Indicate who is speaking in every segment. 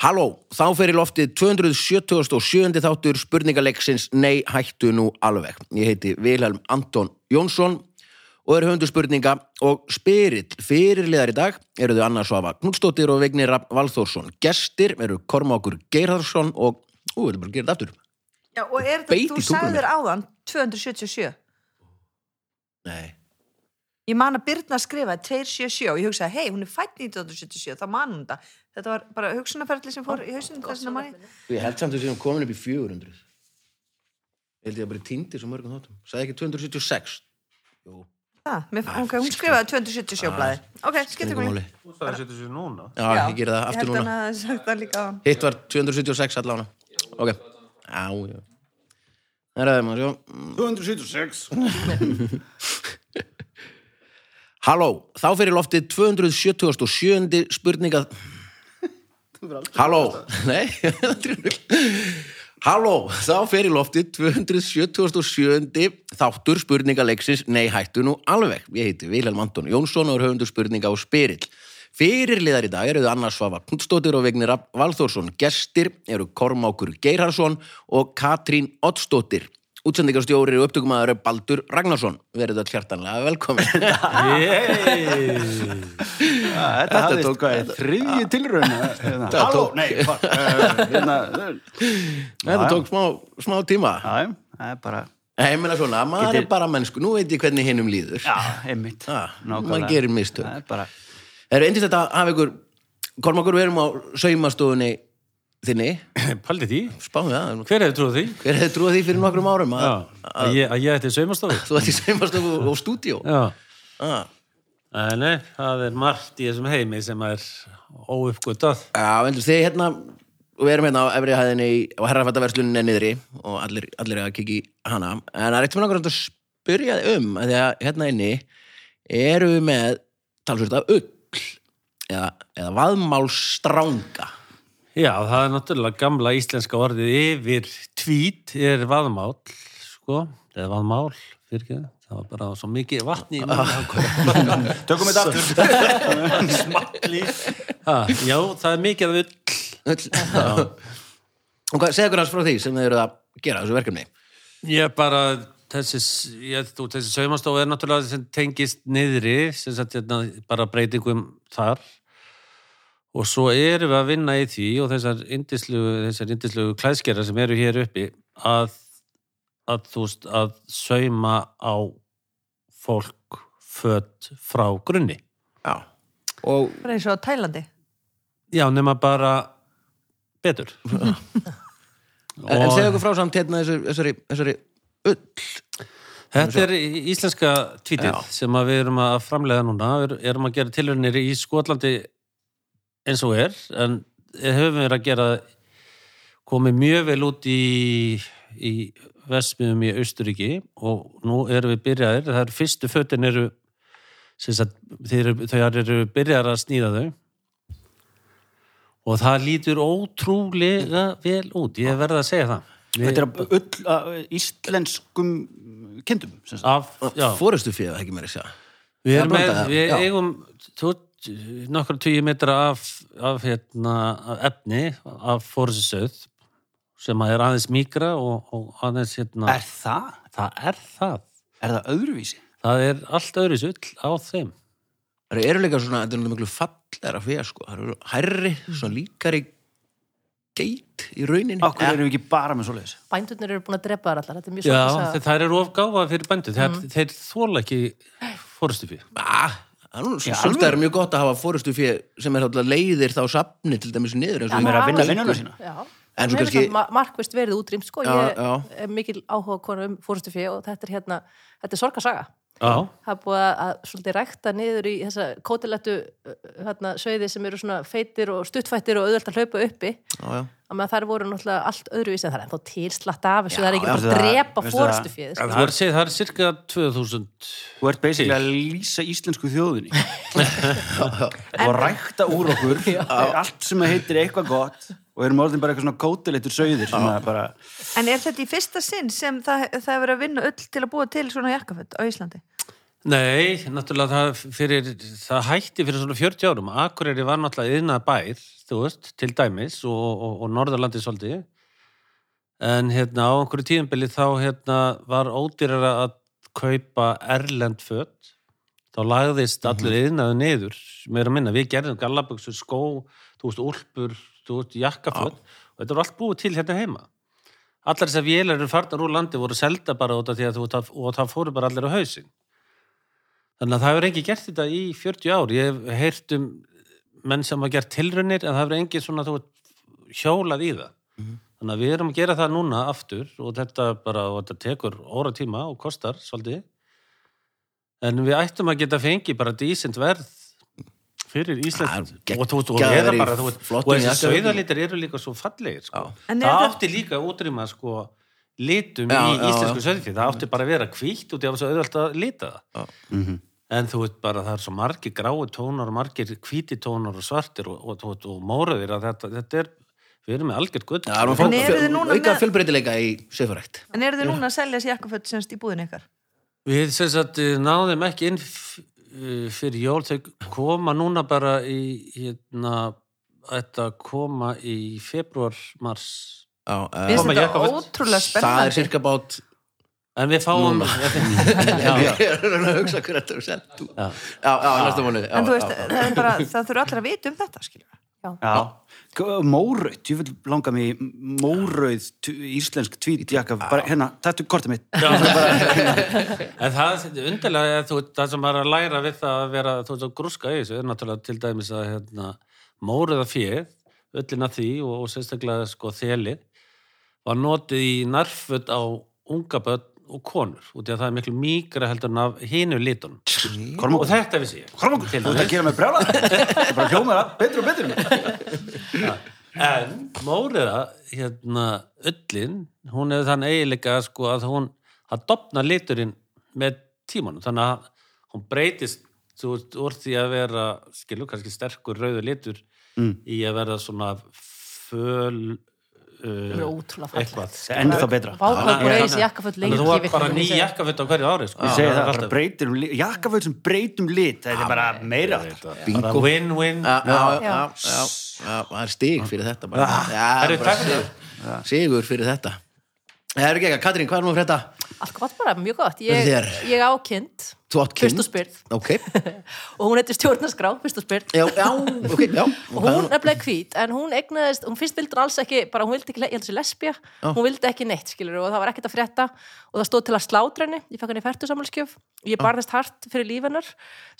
Speaker 1: Halló, þá fer í loftið 277. þáttur spurningaleiksins Nei, hættu nú alveg. Ég heiti Vilhelm Anton Jónsson og er höfundur spurninga og spyrill fyrirliðar í dag eru þau Anna Svafa Knúlsdóttir og Vignir Rafn Valþórsson. Gestir eru Kormákur Geirharðsson og, ú, við erum bara að gera þetta aftur.
Speaker 2: Já, og er
Speaker 1: Beit
Speaker 2: þetta,
Speaker 1: í
Speaker 2: þú
Speaker 1: tungunni.
Speaker 2: sagðir áðan 277
Speaker 1: Nei,
Speaker 2: Ég man að Birna skrifaði 277 og ég hugsaði, hei, hún er fætt 1977, það man hún þetta. Þetta var bara hugsunarferðli sem fór í hausinu þess að manni.
Speaker 1: ég held samt að við séum komin upp í 400. Ég held ég að bara týndi svo mörgum þáttum. Sæði ekki 276? Jú,
Speaker 2: Það, mér, ok, hún skrifaði 277 blæði. Ok, skiptir
Speaker 1: engum Ah,
Speaker 2: komið.
Speaker 1: máli.
Speaker 3: Þú staðar setja sér núna.
Speaker 1: Já, ég gera það aftur
Speaker 2: Ég held
Speaker 1: núna.
Speaker 2: hann að sagt það líka á hann.
Speaker 1: Hitt var 276 allána Ok Já, já Það er aðeins maður sjá
Speaker 3: 276.
Speaker 1: Halló, þá fyrir loftið 277. spurninga Halló Nei, það er trúlega Halló, þá fyrir loftið 277. þáttur spurningaleiksins Nei, hættu nú alveg. Ég heiti Vilhelm Anton Jónsson og er höfundur spurninga á Spyrill. Fyrirliðar í dag eru Anna Svafa Knudstóttir og Vignir Rafn Valþórsson. Gestir eru Kormákur Geirharsson og Katrín Oddstóttir. Útsendingarstjóri og upptökumæður er Baldur Ragnarsson. Verið þetta hjartanlega velkomin.
Speaker 4: Þetta
Speaker 1: hafðist-
Speaker 4: tók að þriðji tilraun hérna.
Speaker 1: Þetta
Speaker 4: Halló,
Speaker 1: tók-
Speaker 4: nei, fuck eh, hérna,
Speaker 1: Þetta tók smá, smá tíma.
Speaker 4: Já, já, það er bara
Speaker 1: Nei, ég meina svona, maður er bara mennsku. Nú veit ég hvernig hinnum líður.
Speaker 4: Já, einmitt
Speaker 1: Ah,
Speaker 4: Nákvæmlega.
Speaker 1: maður gerir mistök.
Speaker 4: Það er bara
Speaker 1: Það eru endist þetta af ykkur Kormakur, við erum á saumastofunni þinni,
Speaker 3: Paldi því.
Speaker 1: spáðum við það
Speaker 3: Hver hefði trúið því?
Speaker 1: Hver hefði trúið því fyrir nokkrum árum
Speaker 3: Já,
Speaker 1: að
Speaker 3: að ég, að ég ætti saumastofu.
Speaker 1: þú ætti saumastofu og stúdíó
Speaker 3: Já.
Speaker 1: ah.
Speaker 3: Nei, nei, það er margt í þessum heimi sem er óuppgötað.
Speaker 1: Já, endur þið hérna og við erum hérna á efri hæðinni í- og herrafættaversluninni niðri og allir, allir er að kikki hana en það er eitt sem langar samt að spyrja þig um að því að hérna inni eru við með talsvöld af ull eða, eða vaðmálstranga
Speaker 3: Já, það er náttúrulega gamla íslenska orðið yfir tvít er vaðmál, sko, eða vaðmál, fyrir ekki, það var bara svo mikið vatni í mjög.
Speaker 4: Tökum þetta aftur
Speaker 3: Já, það er mikið að ull
Speaker 1: ull og hvað, segðu okkur hans frá því sem þið eru að gera þessu verkefni
Speaker 3: Ég bara, þessi, ég, þú, þessi saumastofu er náttúrulega sem tengist niðri, sem sagt, hérna, bara breytingum þar og svo erum við að vinna í því og þessar indislugu, þessar indislugu klæðskera sem eru hér uppi að, að þú veist, að sauma á fólk fött frá grunni.
Speaker 1: Já og
Speaker 2: Bara eins og á Tælandi.
Speaker 3: Já, nema bara betur.
Speaker 1: En, en
Speaker 3: Og-
Speaker 1: segja okkur frá samt hérna þessari, þessari, þessari ull.
Speaker 3: Þetta er í- íslenska tvítið sem að við erum að framlega núna við erum að gera tilhörnir í Skotlandi eins og er en höfum við að gera komið mjög vel út í, í Vestmiðum í Austuríki og nú erum við byrjaðir það eru fyrstu fötin eru sem sagt, þeir eru, þau eru byrjaðar að sníða þau og það lítur ótrúlega vel út, ég verð að segja það
Speaker 4: Þetta er að ull að íslenskum kindum sem sagt.
Speaker 3: af, já.
Speaker 1: Fórustu fyrir það ekki meira að segja.
Speaker 3: Við,
Speaker 1: Já,
Speaker 3: erum með,
Speaker 1: blanda,
Speaker 3: við
Speaker 1: já.
Speaker 3: eigum tó- nokkra tugi metra af, af, hérna, af efni af fórsöð sem að er aðeins mikra og, og aðeins hérna,
Speaker 4: Er það?
Speaker 3: það er það
Speaker 4: Er það öðruvísi?
Speaker 3: það er allt öðru sull á þeim
Speaker 1: Það eru líka svona, þetta er náttúrulega miklu fallera fyrir sko. Það eru hærri, svona líkari geit í rauninni. Eh,
Speaker 4: Akkur erum við ekki bara með svoleiðis?
Speaker 5: bændurnir eru búin að drepa þar allar þetta er mjög
Speaker 3: Já, Mm.
Speaker 5: svolítið
Speaker 3: þeir- það er ofgáfa fyrir bændu þeir, þeir þóla ekki fórustu fyrir
Speaker 1: Ah, það er nú svolítið er mjög gott að hafa fórustu fyrir sem er alltaf leiðir þá safni til dæmis niður. eins og
Speaker 4: Sem
Speaker 1: ég-
Speaker 4: er að vinna vinnuna sína
Speaker 5: Já,
Speaker 1: En
Speaker 5: en
Speaker 1: svo
Speaker 5: svo
Speaker 1: kannski-
Speaker 5: markvist verið útrýmt sko,
Speaker 1: Já,
Speaker 5: ég
Speaker 1: já.
Speaker 5: er mikil áhuga konu um fórstu fyrir og þetta er hérna þetta er sorgarsaga
Speaker 3: Já,
Speaker 5: það er búið að, að svolítið rækta niður í þessa kótilettu uh, hérna, sveiði sem eru svona feitir og stuttfættir og auðvelt að hlaupa uppi
Speaker 1: Já, já.
Speaker 5: að með þar voru náttúrulega allt öðruvísi en það er ennþá tilslatt af þessu, það er ekki
Speaker 4: já,
Speaker 5: bara
Speaker 4: það-
Speaker 5: að drepa sko.
Speaker 4: veistu það-
Speaker 5: fórstu fyrir
Speaker 3: það er, það er cirka 2000
Speaker 4: Þú ert basically að lýsa íslensku þjóðinni og rækta úr okkur allt sem heitir eitthvað gott og erum orðin bara eitthvað svona kótileitur sögðir sem að bara
Speaker 2: En er þetta í fyrsta sinn sem það, það hefur verið að vinna öll til að búa til svona jakkaföld á Íslandi?
Speaker 3: Nei, náttúrulega það, fyrir, það hætti fyrir svona 40 árum. Akureyri var náttúrulega yðnað bær, þú veist, til dæmis og, og, og Norðurlandi svolítið. En hérna á einhverju tíðumbili þá hérna var ódýrara að kaupa erlend fött. Þá lagðist allur yðnaðu niður, meira að minna. Við gerðum gallabuxur, skó, þú veist, úlpur, þú veist, jakkafött. Og þetta var allt búið til hérna heima. Allar þessar vélar eru farnar úr landi voru selda bara út af því að þú, það- og það fóru bara allir á hausinn. Þannig að það hefur engin gert þetta í 40 ár. Ég hef heyrt um menn sem hafa gert tilraunir en það hefur engin svona þú, veist, hjólað í það.
Speaker 1: Mhm.
Speaker 3: Þannig að við erum að gera það núna aftur og þetta bara, og þetta tekur óra tíma og kostar svolítið. En við ættum að geta fengið bara dísint verð fyrir Ísland
Speaker 1: Það er
Speaker 3: og þú veist, og
Speaker 1: geggjaðir
Speaker 3: eða
Speaker 1: í
Speaker 3: bara, þú veist, og
Speaker 1: flottum
Speaker 3: þessi
Speaker 1: jakkafötum.
Speaker 3: sauðalítir eru líka svo fallegir, sko.
Speaker 1: Já.
Speaker 2: En er
Speaker 3: Það
Speaker 2: þetta-
Speaker 3: átti líka að útrýma, sko, litum
Speaker 1: Já,
Speaker 3: í
Speaker 1: já,
Speaker 3: íslensku söðfið. Það átti bara að vera hvítt út í að þessu auðvöld að lita það. En þú veit bara, það er svo margir gráu tónar og margir hvíti tónar og svartir og, og, og, og móraðir að þetta, þetta er, við erum með algjörð gutt.
Speaker 1: Það er að
Speaker 2: En eru þið
Speaker 1: fá
Speaker 2: núna
Speaker 1: auka
Speaker 2: með-
Speaker 1: fjölbreytileika í söfurækt.
Speaker 2: En eru þið núna að selja þessi jakkaföt semst í búðin ykkar?
Speaker 3: Við sem sagt eh, náðum ekki inn f- eh, fyrir jól, þau koma núna bara í, hérna, þetta koma í februar, mars.
Speaker 1: Já, eh,
Speaker 2: Mér finnst
Speaker 3: Koma
Speaker 2: þetta
Speaker 3: jakkaföt.
Speaker 2: ótrúlega
Speaker 1: Það er
Speaker 2: spennandi.
Speaker 1: cirka bát
Speaker 3: En við fáum... Já, já.
Speaker 1: Ég er að reyna að hugsa hver þetta er selt út.
Speaker 3: Já.
Speaker 1: Já, já, næsta mánu
Speaker 2: En þú veist, eh, það er bara, það þurfa allir að vita um þetta, skiljum við.
Speaker 4: Já. Mórauð, ég vil langa mig í mórauð tu- íslensk tvítjakka, bara hérna, tættu kortið mitt.
Speaker 3: Já, en það er undarlega að þú, það sem maður er að læra við það að vera þú veist að grúska í þessu er náttúrulega til dæmis að hérna, móruða fjöð, öllina því og, og sérstaklega sko þeli var notið í narfut á unga börn og konur út í að það er miklu mýgra heldur en af hinu litunum og
Speaker 4: Kormákur,
Speaker 3: þetta vissi ég
Speaker 4: kormákur, þú ert að gera mig brjála. Það bara hljóma það, betur og betur.
Speaker 3: En Móriða, hérna, öllin, hún hefur þann eiginleika sko að hún, það dopna liturinn með tímanum, þannig að hún breytist þú veist, úr því að vera, skilu, kannski sterkur rauður litur
Speaker 4: Mm.
Speaker 3: í að vera svona föl
Speaker 5: Það er
Speaker 3: uh,
Speaker 5: ótrúlega fallegt.
Speaker 3: eitthvað.
Speaker 4: Enn þá betra.
Speaker 5: Vákvæða
Speaker 3: Já, já.
Speaker 5: búið í þessi jakkaföld lengi.
Speaker 3: Þannig að þú
Speaker 5: í
Speaker 3: var bara
Speaker 5: vikunni,
Speaker 3: ný
Speaker 5: ég segi.
Speaker 3: jakkaföt á hverju ári, sko.
Speaker 4: Ég segi
Speaker 3: er
Speaker 4: það, bara
Speaker 3: alltaf-
Speaker 4: breytir um lit, jakkaföld sem breytum lit, þetta er bara meira. sko.
Speaker 3: Bara win-win.
Speaker 1: Já, já,
Speaker 5: Já.
Speaker 1: já, já, já, það er stig fyrir þetta bara.
Speaker 4: Ah,
Speaker 1: Já,
Speaker 3: Herru,
Speaker 1: bara
Speaker 3: takk
Speaker 1: sigur, sigur fyrir þetta. Það eru ekki eitthvað, Katrín, hvað er nú fyrir þetta?
Speaker 5: Allt gott bara, mjög gott. Ég,
Speaker 1: Þér.
Speaker 5: ég ákynnt,
Speaker 1: Þú átt
Speaker 5: fyrst
Speaker 1: kynnt.
Speaker 5: og spyrð.
Speaker 1: Ok,
Speaker 5: Og hún heitir stjórnarskrá, fyrst og spyrð.
Speaker 1: já, já, ok, já.
Speaker 5: Og hún er bleið hvít, en hún egnaðist, hún fyrst vildur alls ekki, bara hún vildi ekki, ég held þessi lesbja, hún vildi ekki neitt, skilur, og það var ekkert að frétta og það stóð til að slátra henni, ég fekk henni færtu samhalskjöf, ég barðist hart fyrir lífennar,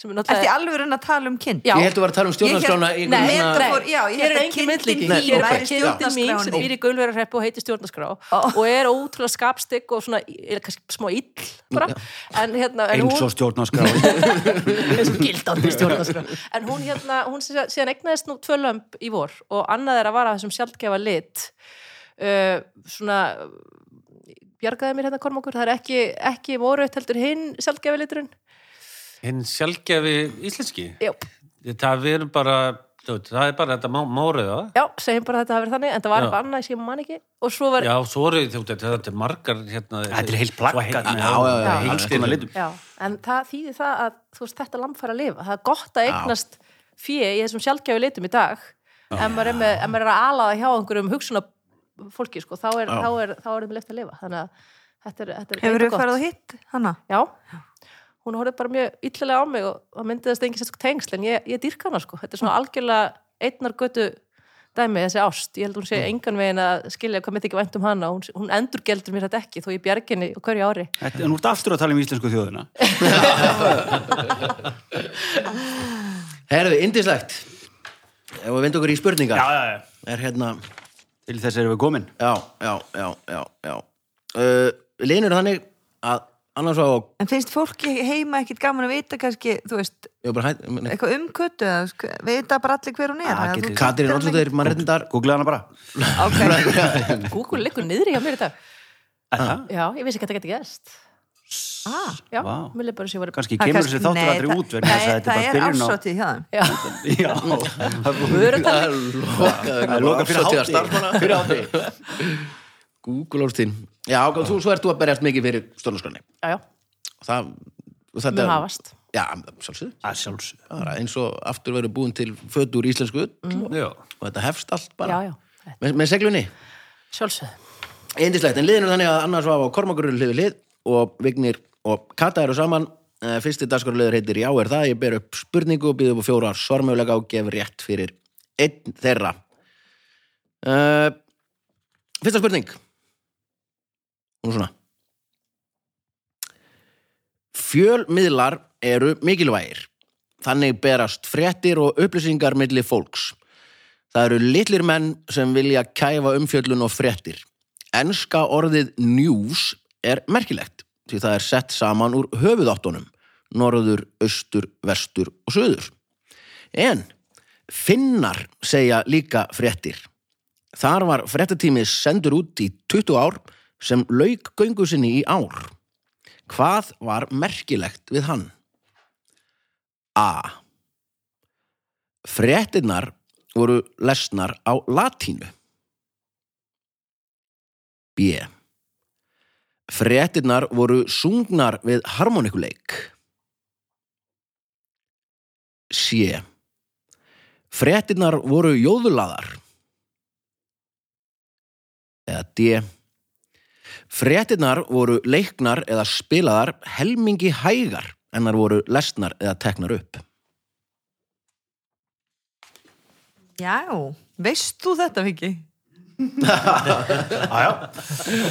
Speaker 5: sem
Speaker 2: Ertu í
Speaker 5: er náttúrulega...
Speaker 2: alveg að tala um kynnt?
Speaker 5: Já.
Speaker 1: Ég held að vera að tala um stjórnarskrána. í
Speaker 5: Ég hélt-
Speaker 1: einhvern
Speaker 5: nei,
Speaker 1: svona-
Speaker 5: nei,
Speaker 2: fór- já, ég
Speaker 5: hér
Speaker 2: held
Speaker 5: er
Speaker 2: að
Speaker 5: engin
Speaker 2: kindin
Speaker 5: myndlíking
Speaker 2: þín
Speaker 5: hér
Speaker 1: væri
Speaker 5: er bara kindin mín sem
Speaker 2: stjórnarskránni.
Speaker 5: býr í gulverðarreppu og heitir stjórnarskrá og er ótrúlega skapstygg og svona, er kannski smá ill bara, en hérna en
Speaker 4: Eins
Speaker 5: hún,
Speaker 4: og stjórnarskrá.
Speaker 5: eins og gildandi stjórnarskrá en hún hérna, hún sé- síðan egnaðist nú tvö lömb í vor og annað er að vara þessum sjaldgefa lit uh, svona bjargaði mér hérna kormokur, það er ekki, ekki voruð heldur hinn sjaldgefa liturinn
Speaker 3: Hinn sjálfgefi íslenski.
Speaker 5: Jú.
Speaker 3: Það við erum bara, þú veit, það er bara þetta má- Móriða.
Speaker 5: já, segjum bara að þetta hafi verið þannig en það var
Speaker 3: Já.
Speaker 5: eitthvað annað sem ég man ekki og svo var
Speaker 3: Já, svo eru þú veit, þetta er margar hérna,
Speaker 4: Þetta er heilt plakkat
Speaker 3: Svo
Speaker 4: með
Speaker 3: heilt-
Speaker 1: Já, já, já,
Speaker 5: Já.
Speaker 4: alls konar litum.
Speaker 5: Já, en það þýðir það að þú veist, þetta lamb fara að lifa. Það er gott að eignast fíi í þessum sjálfgjáfi litum í dag en maður er, með, en maður er að ala það hjá einhverjum hugsuna fólki, sko, þá er, þá er, þá er þeim leitt að lifa. Þannig að þetta er, þetta er
Speaker 2: Hefur
Speaker 5: reyndar
Speaker 2: þið farið á hitt hana?
Speaker 5: Já, hún horfði bara mjög yllilega á mig og það myndi þess engin sérstök tengsl en ég, ég dýrka hana, sko. Þetta er svona algjörlega einnar götu dæmi þessi ást. Ég held hún sé engan veginn að skilja hvað mitt ekki vænt um hana og hún, hún endurgeldur mér þetta ekki þó ég bjarginni og hverju ári.
Speaker 4: Þetta- En þú ert aftur að tala um íslensku þjóðina.
Speaker 1: Herðu, indislegt. Ef við vindum okkur í spurningar.
Speaker 4: já, já.
Speaker 1: Er hérna,
Speaker 4: Til þess erum við komin.
Speaker 1: já, já, já, já, já. Uh, Linur þannig að annars á,
Speaker 2: En finnst fólki heima ekkit gaman að vita kannski, þú veist,
Speaker 1: ég var bara hætt, nei,
Speaker 2: eitthvað um köttu eða sk- vita bara allir hver hún er?
Speaker 4: Ah,
Speaker 2: eða þú-
Speaker 1: Katrín Olsóttir, mannréttindar
Speaker 4: Google hana bara.
Speaker 2: Ok,
Speaker 5: Google liggur niðri hjá mér í dag
Speaker 4: Það?
Speaker 5: Já, ég vissi ekki að þetta geti gerst
Speaker 2: Ah,
Speaker 5: Já,
Speaker 4: Vá.
Speaker 5: mér leið bara að sé að vera
Speaker 4: Kannski
Speaker 2: það er
Speaker 4: kemur
Speaker 2: Ah, kannski-
Speaker 4: þessi þáttur
Speaker 2: nei,
Speaker 4: aldrei
Speaker 2: það-
Speaker 4: út vegna þess að
Speaker 2: nei,
Speaker 4: þetta er bara
Speaker 2: Það er
Speaker 4: byrjun á...
Speaker 2: afsótið hjá þeim.
Speaker 5: Já,
Speaker 4: Já.
Speaker 5: vörutal
Speaker 1: Það er
Speaker 4: Loka fyrir hátíð.
Speaker 1: Fyrir hátíð Google orðin Já, ok, þú, svo ert þú að berjast mikið fyrir stjórnarskranni
Speaker 5: Já, já,
Speaker 1: Það og þetta
Speaker 5: mun hafast
Speaker 1: já, sjálfsög,
Speaker 4: að sjálfsög
Speaker 1: bara eins og aftur verður búin til fötur íslensku mm.
Speaker 3: Já.
Speaker 1: og þetta hefst allt
Speaker 5: Mhm. já,
Speaker 1: bara
Speaker 5: já, þetta-
Speaker 1: með, með seglunni
Speaker 5: sjálfsögð
Speaker 1: Eindislegt, en liðinu þannig að annars var á Kormakurinn hliði lið og Vignir og Kata eru saman. Eh, Fyrsti dagskorleður heitir Já er það, ég ber upp spurningu og býð upp á fjóra svarmögulega og gef rétt fyrir einn þeirra. Uh, fyrsta spurning. Nú svona. Fjölmiðlar eru mikilvægir. Þannig berast fréttir og upplýsingar milli fólks. Það eru litlir menn sem vilja kæfa umfjöllun og fréttir. Enska orðið news er merkilegt því það er sett saman úr höfuðáttunum norður, austur, vestur og söður. En finnar segja líka fréttir. Þar var fréttatímið sendur út í 20 ár sem lauk göngu sinni í ár. Hvað var merkilegt við hann? A. Fréttinnar voru lesnar á latínu. B. Fréttinnar voru sungnar við harmonikuleik. C. Fréttinnar voru jóðulaðar. Eða D. Fréttinnar voru leiknar eða spilaðar helmingi hægar en þar voru lesnar eða teknar upp.
Speaker 2: Já, veist þú þetta, Viki?
Speaker 4: Ah, aðjá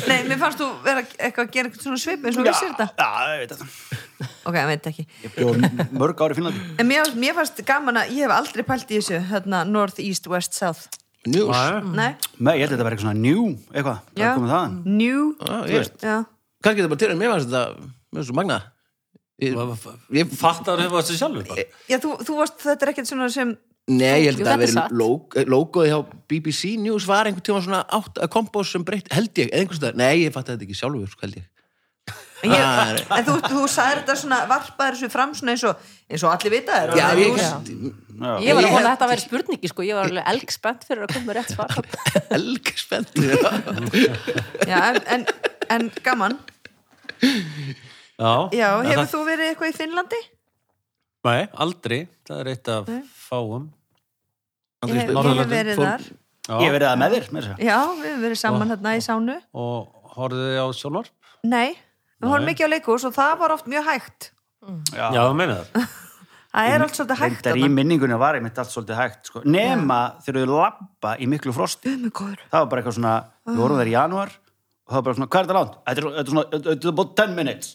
Speaker 2: Nei, mér fannst þú vera eitthvað að gera eitthvað svona svip eins og vissir þetta.
Speaker 4: já, ég veit þetta
Speaker 2: Ok, ég veit ekki.
Speaker 4: ég bjóð mörg ári finnandi
Speaker 2: En mér, mér fannst gaman að ég hef aldrei pælt í þessu, hérna, north, east, west, south.
Speaker 1: News.
Speaker 4: Ah,
Speaker 3: Já, já.
Speaker 2: Nei?
Speaker 4: með ég held að þetta verið eitthvað svona new eitthvað það er komið Mm. þaðan
Speaker 2: New,
Speaker 1: Ah,
Speaker 4: Þú
Speaker 1: ég,
Speaker 4: veist.
Speaker 2: já.
Speaker 1: kannski þetta bara til en mér fannst þetta, mér fannst þetta magna. Ég,
Speaker 3: Hvað- hvað-
Speaker 1: ég
Speaker 3: Fattar þau þessu sjálfur bara?
Speaker 2: Já, þú, þú varst, þetta er ekkert svona sem,
Speaker 1: Nei, ég held
Speaker 5: Jú,
Speaker 1: að það
Speaker 5: þetta er
Speaker 1: veri lóg- eh, logoið hjá BBC News var einhvern tíma svona átt að kompós sem breytt, held ég, eða einhvers það Nei, ég fatti þetta ekki sjálfur, sko, held ég
Speaker 2: en,
Speaker 1: Ah,
Speaker 2: ég, en þú, þú sagðir þetta svona, varpaðir þessu fram svona eins og, eins og allir vita þér.
Speaker 1: Já, ég
Speaker 5: Já.
Speaker 4: Já.
Speaker 5: ég var að
Speaker 1: Ég
Speaker 5: vona að
Speaker 1: held-
Speaker 5: þetta væri spurningi sko, ég var alveg elgspennt fyrir að koma með rétt svar
Speaker 1: elg spenntur
Speaker 2: Já, en, en, en gaman.
Speaker 3: Já,
Speaker 2: Já,
Speaker 3: en
Speaker 2: hefur
Speaker 3: það-
Speaker 2: þú verið eitthvað í Finnlandi?
Speaker 3: Nei, aldrei, það er eitt af fáum
Speaker 2: Ég hef, ég hef
Speaker 3: Norðurlöndum,
Speaker 2: verið
Speaker 3: fór-
Speaker 2: þar.
Speaker 3: Já,
Speaker 4: ég hef verið það með þér með þess
Speaker 2: Já, við hefum verið saman hérna í sánu.
Speaker 3: Og horfðuði á sjónvarp?
Speaker 2: Nei, við horfum ekki á leikús og það var oft mjög hægt.
Speaker 3: Já, það meina það
Speaker 2: Það er allt svolítið hægt
Speaker 4: Reyndar í
Speaker 2: þarna.
Speaker 4: minningunni var ég mitt allt svolítið hægt sko. nema þegar þau labba í miklu frosti
Speaker 2: Guð minn góður.
Speaker 4: það var bara eitthvað svona, við vorum þær í janúar og það var bara svona, hvað er þetta langt? Þetta er- þetta er svona, þetta er bara 10 minutes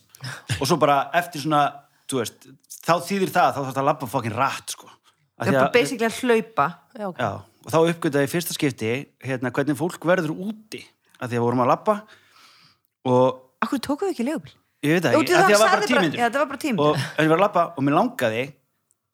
Speaker 4: og svo bara eftir svona, þú veist þá þýðir það, að þá þarf það að labba fokkin rætt sko. Af
Speaker 2: Ég
Speaker 4: því
Speaker 2: er bara
Speaker 4: að,
Speaker 2: basically að hlaupa.
Speaker 5: já, ok.
Speaker 4: já, og þá uppgötaði í fyrsta skipti hérna, hvernig fólk verður úti af því að vorum að labba og
Speaker 2: Akkur tókum við ekki leigubíl?
Speaker 4: ég veit það
Speaker 2: Jú,
Speaker 4: ekki,
Speaker 2: þú-
Speaker 4: af því að
Speaker 2: hann
Speaker 4: það var bara
Speaker 2: sagði
Speaker 4: 10
Speaker 2: bara-
Speaker 4: minútur
Speaker 2: já, þetta var bara 10
Speaker 4: og en ég var að labba og mér langaði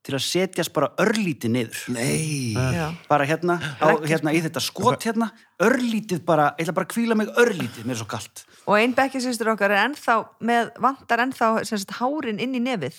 Speaker 4: til að setjast bara örlítið niður
Speaker 1: Nei
Speaker 2: Já.
Speaker 4: bara hérna, á, hérna í þetta skot hérna, örlítið bara, ég ætla bara að kvíla mig örlítið, mér er svo kalt
Speaker 2: Og ein bekkjarsýstur okkar er ennþá með, vantar ennþá sem sagt, hárin inn í nefið.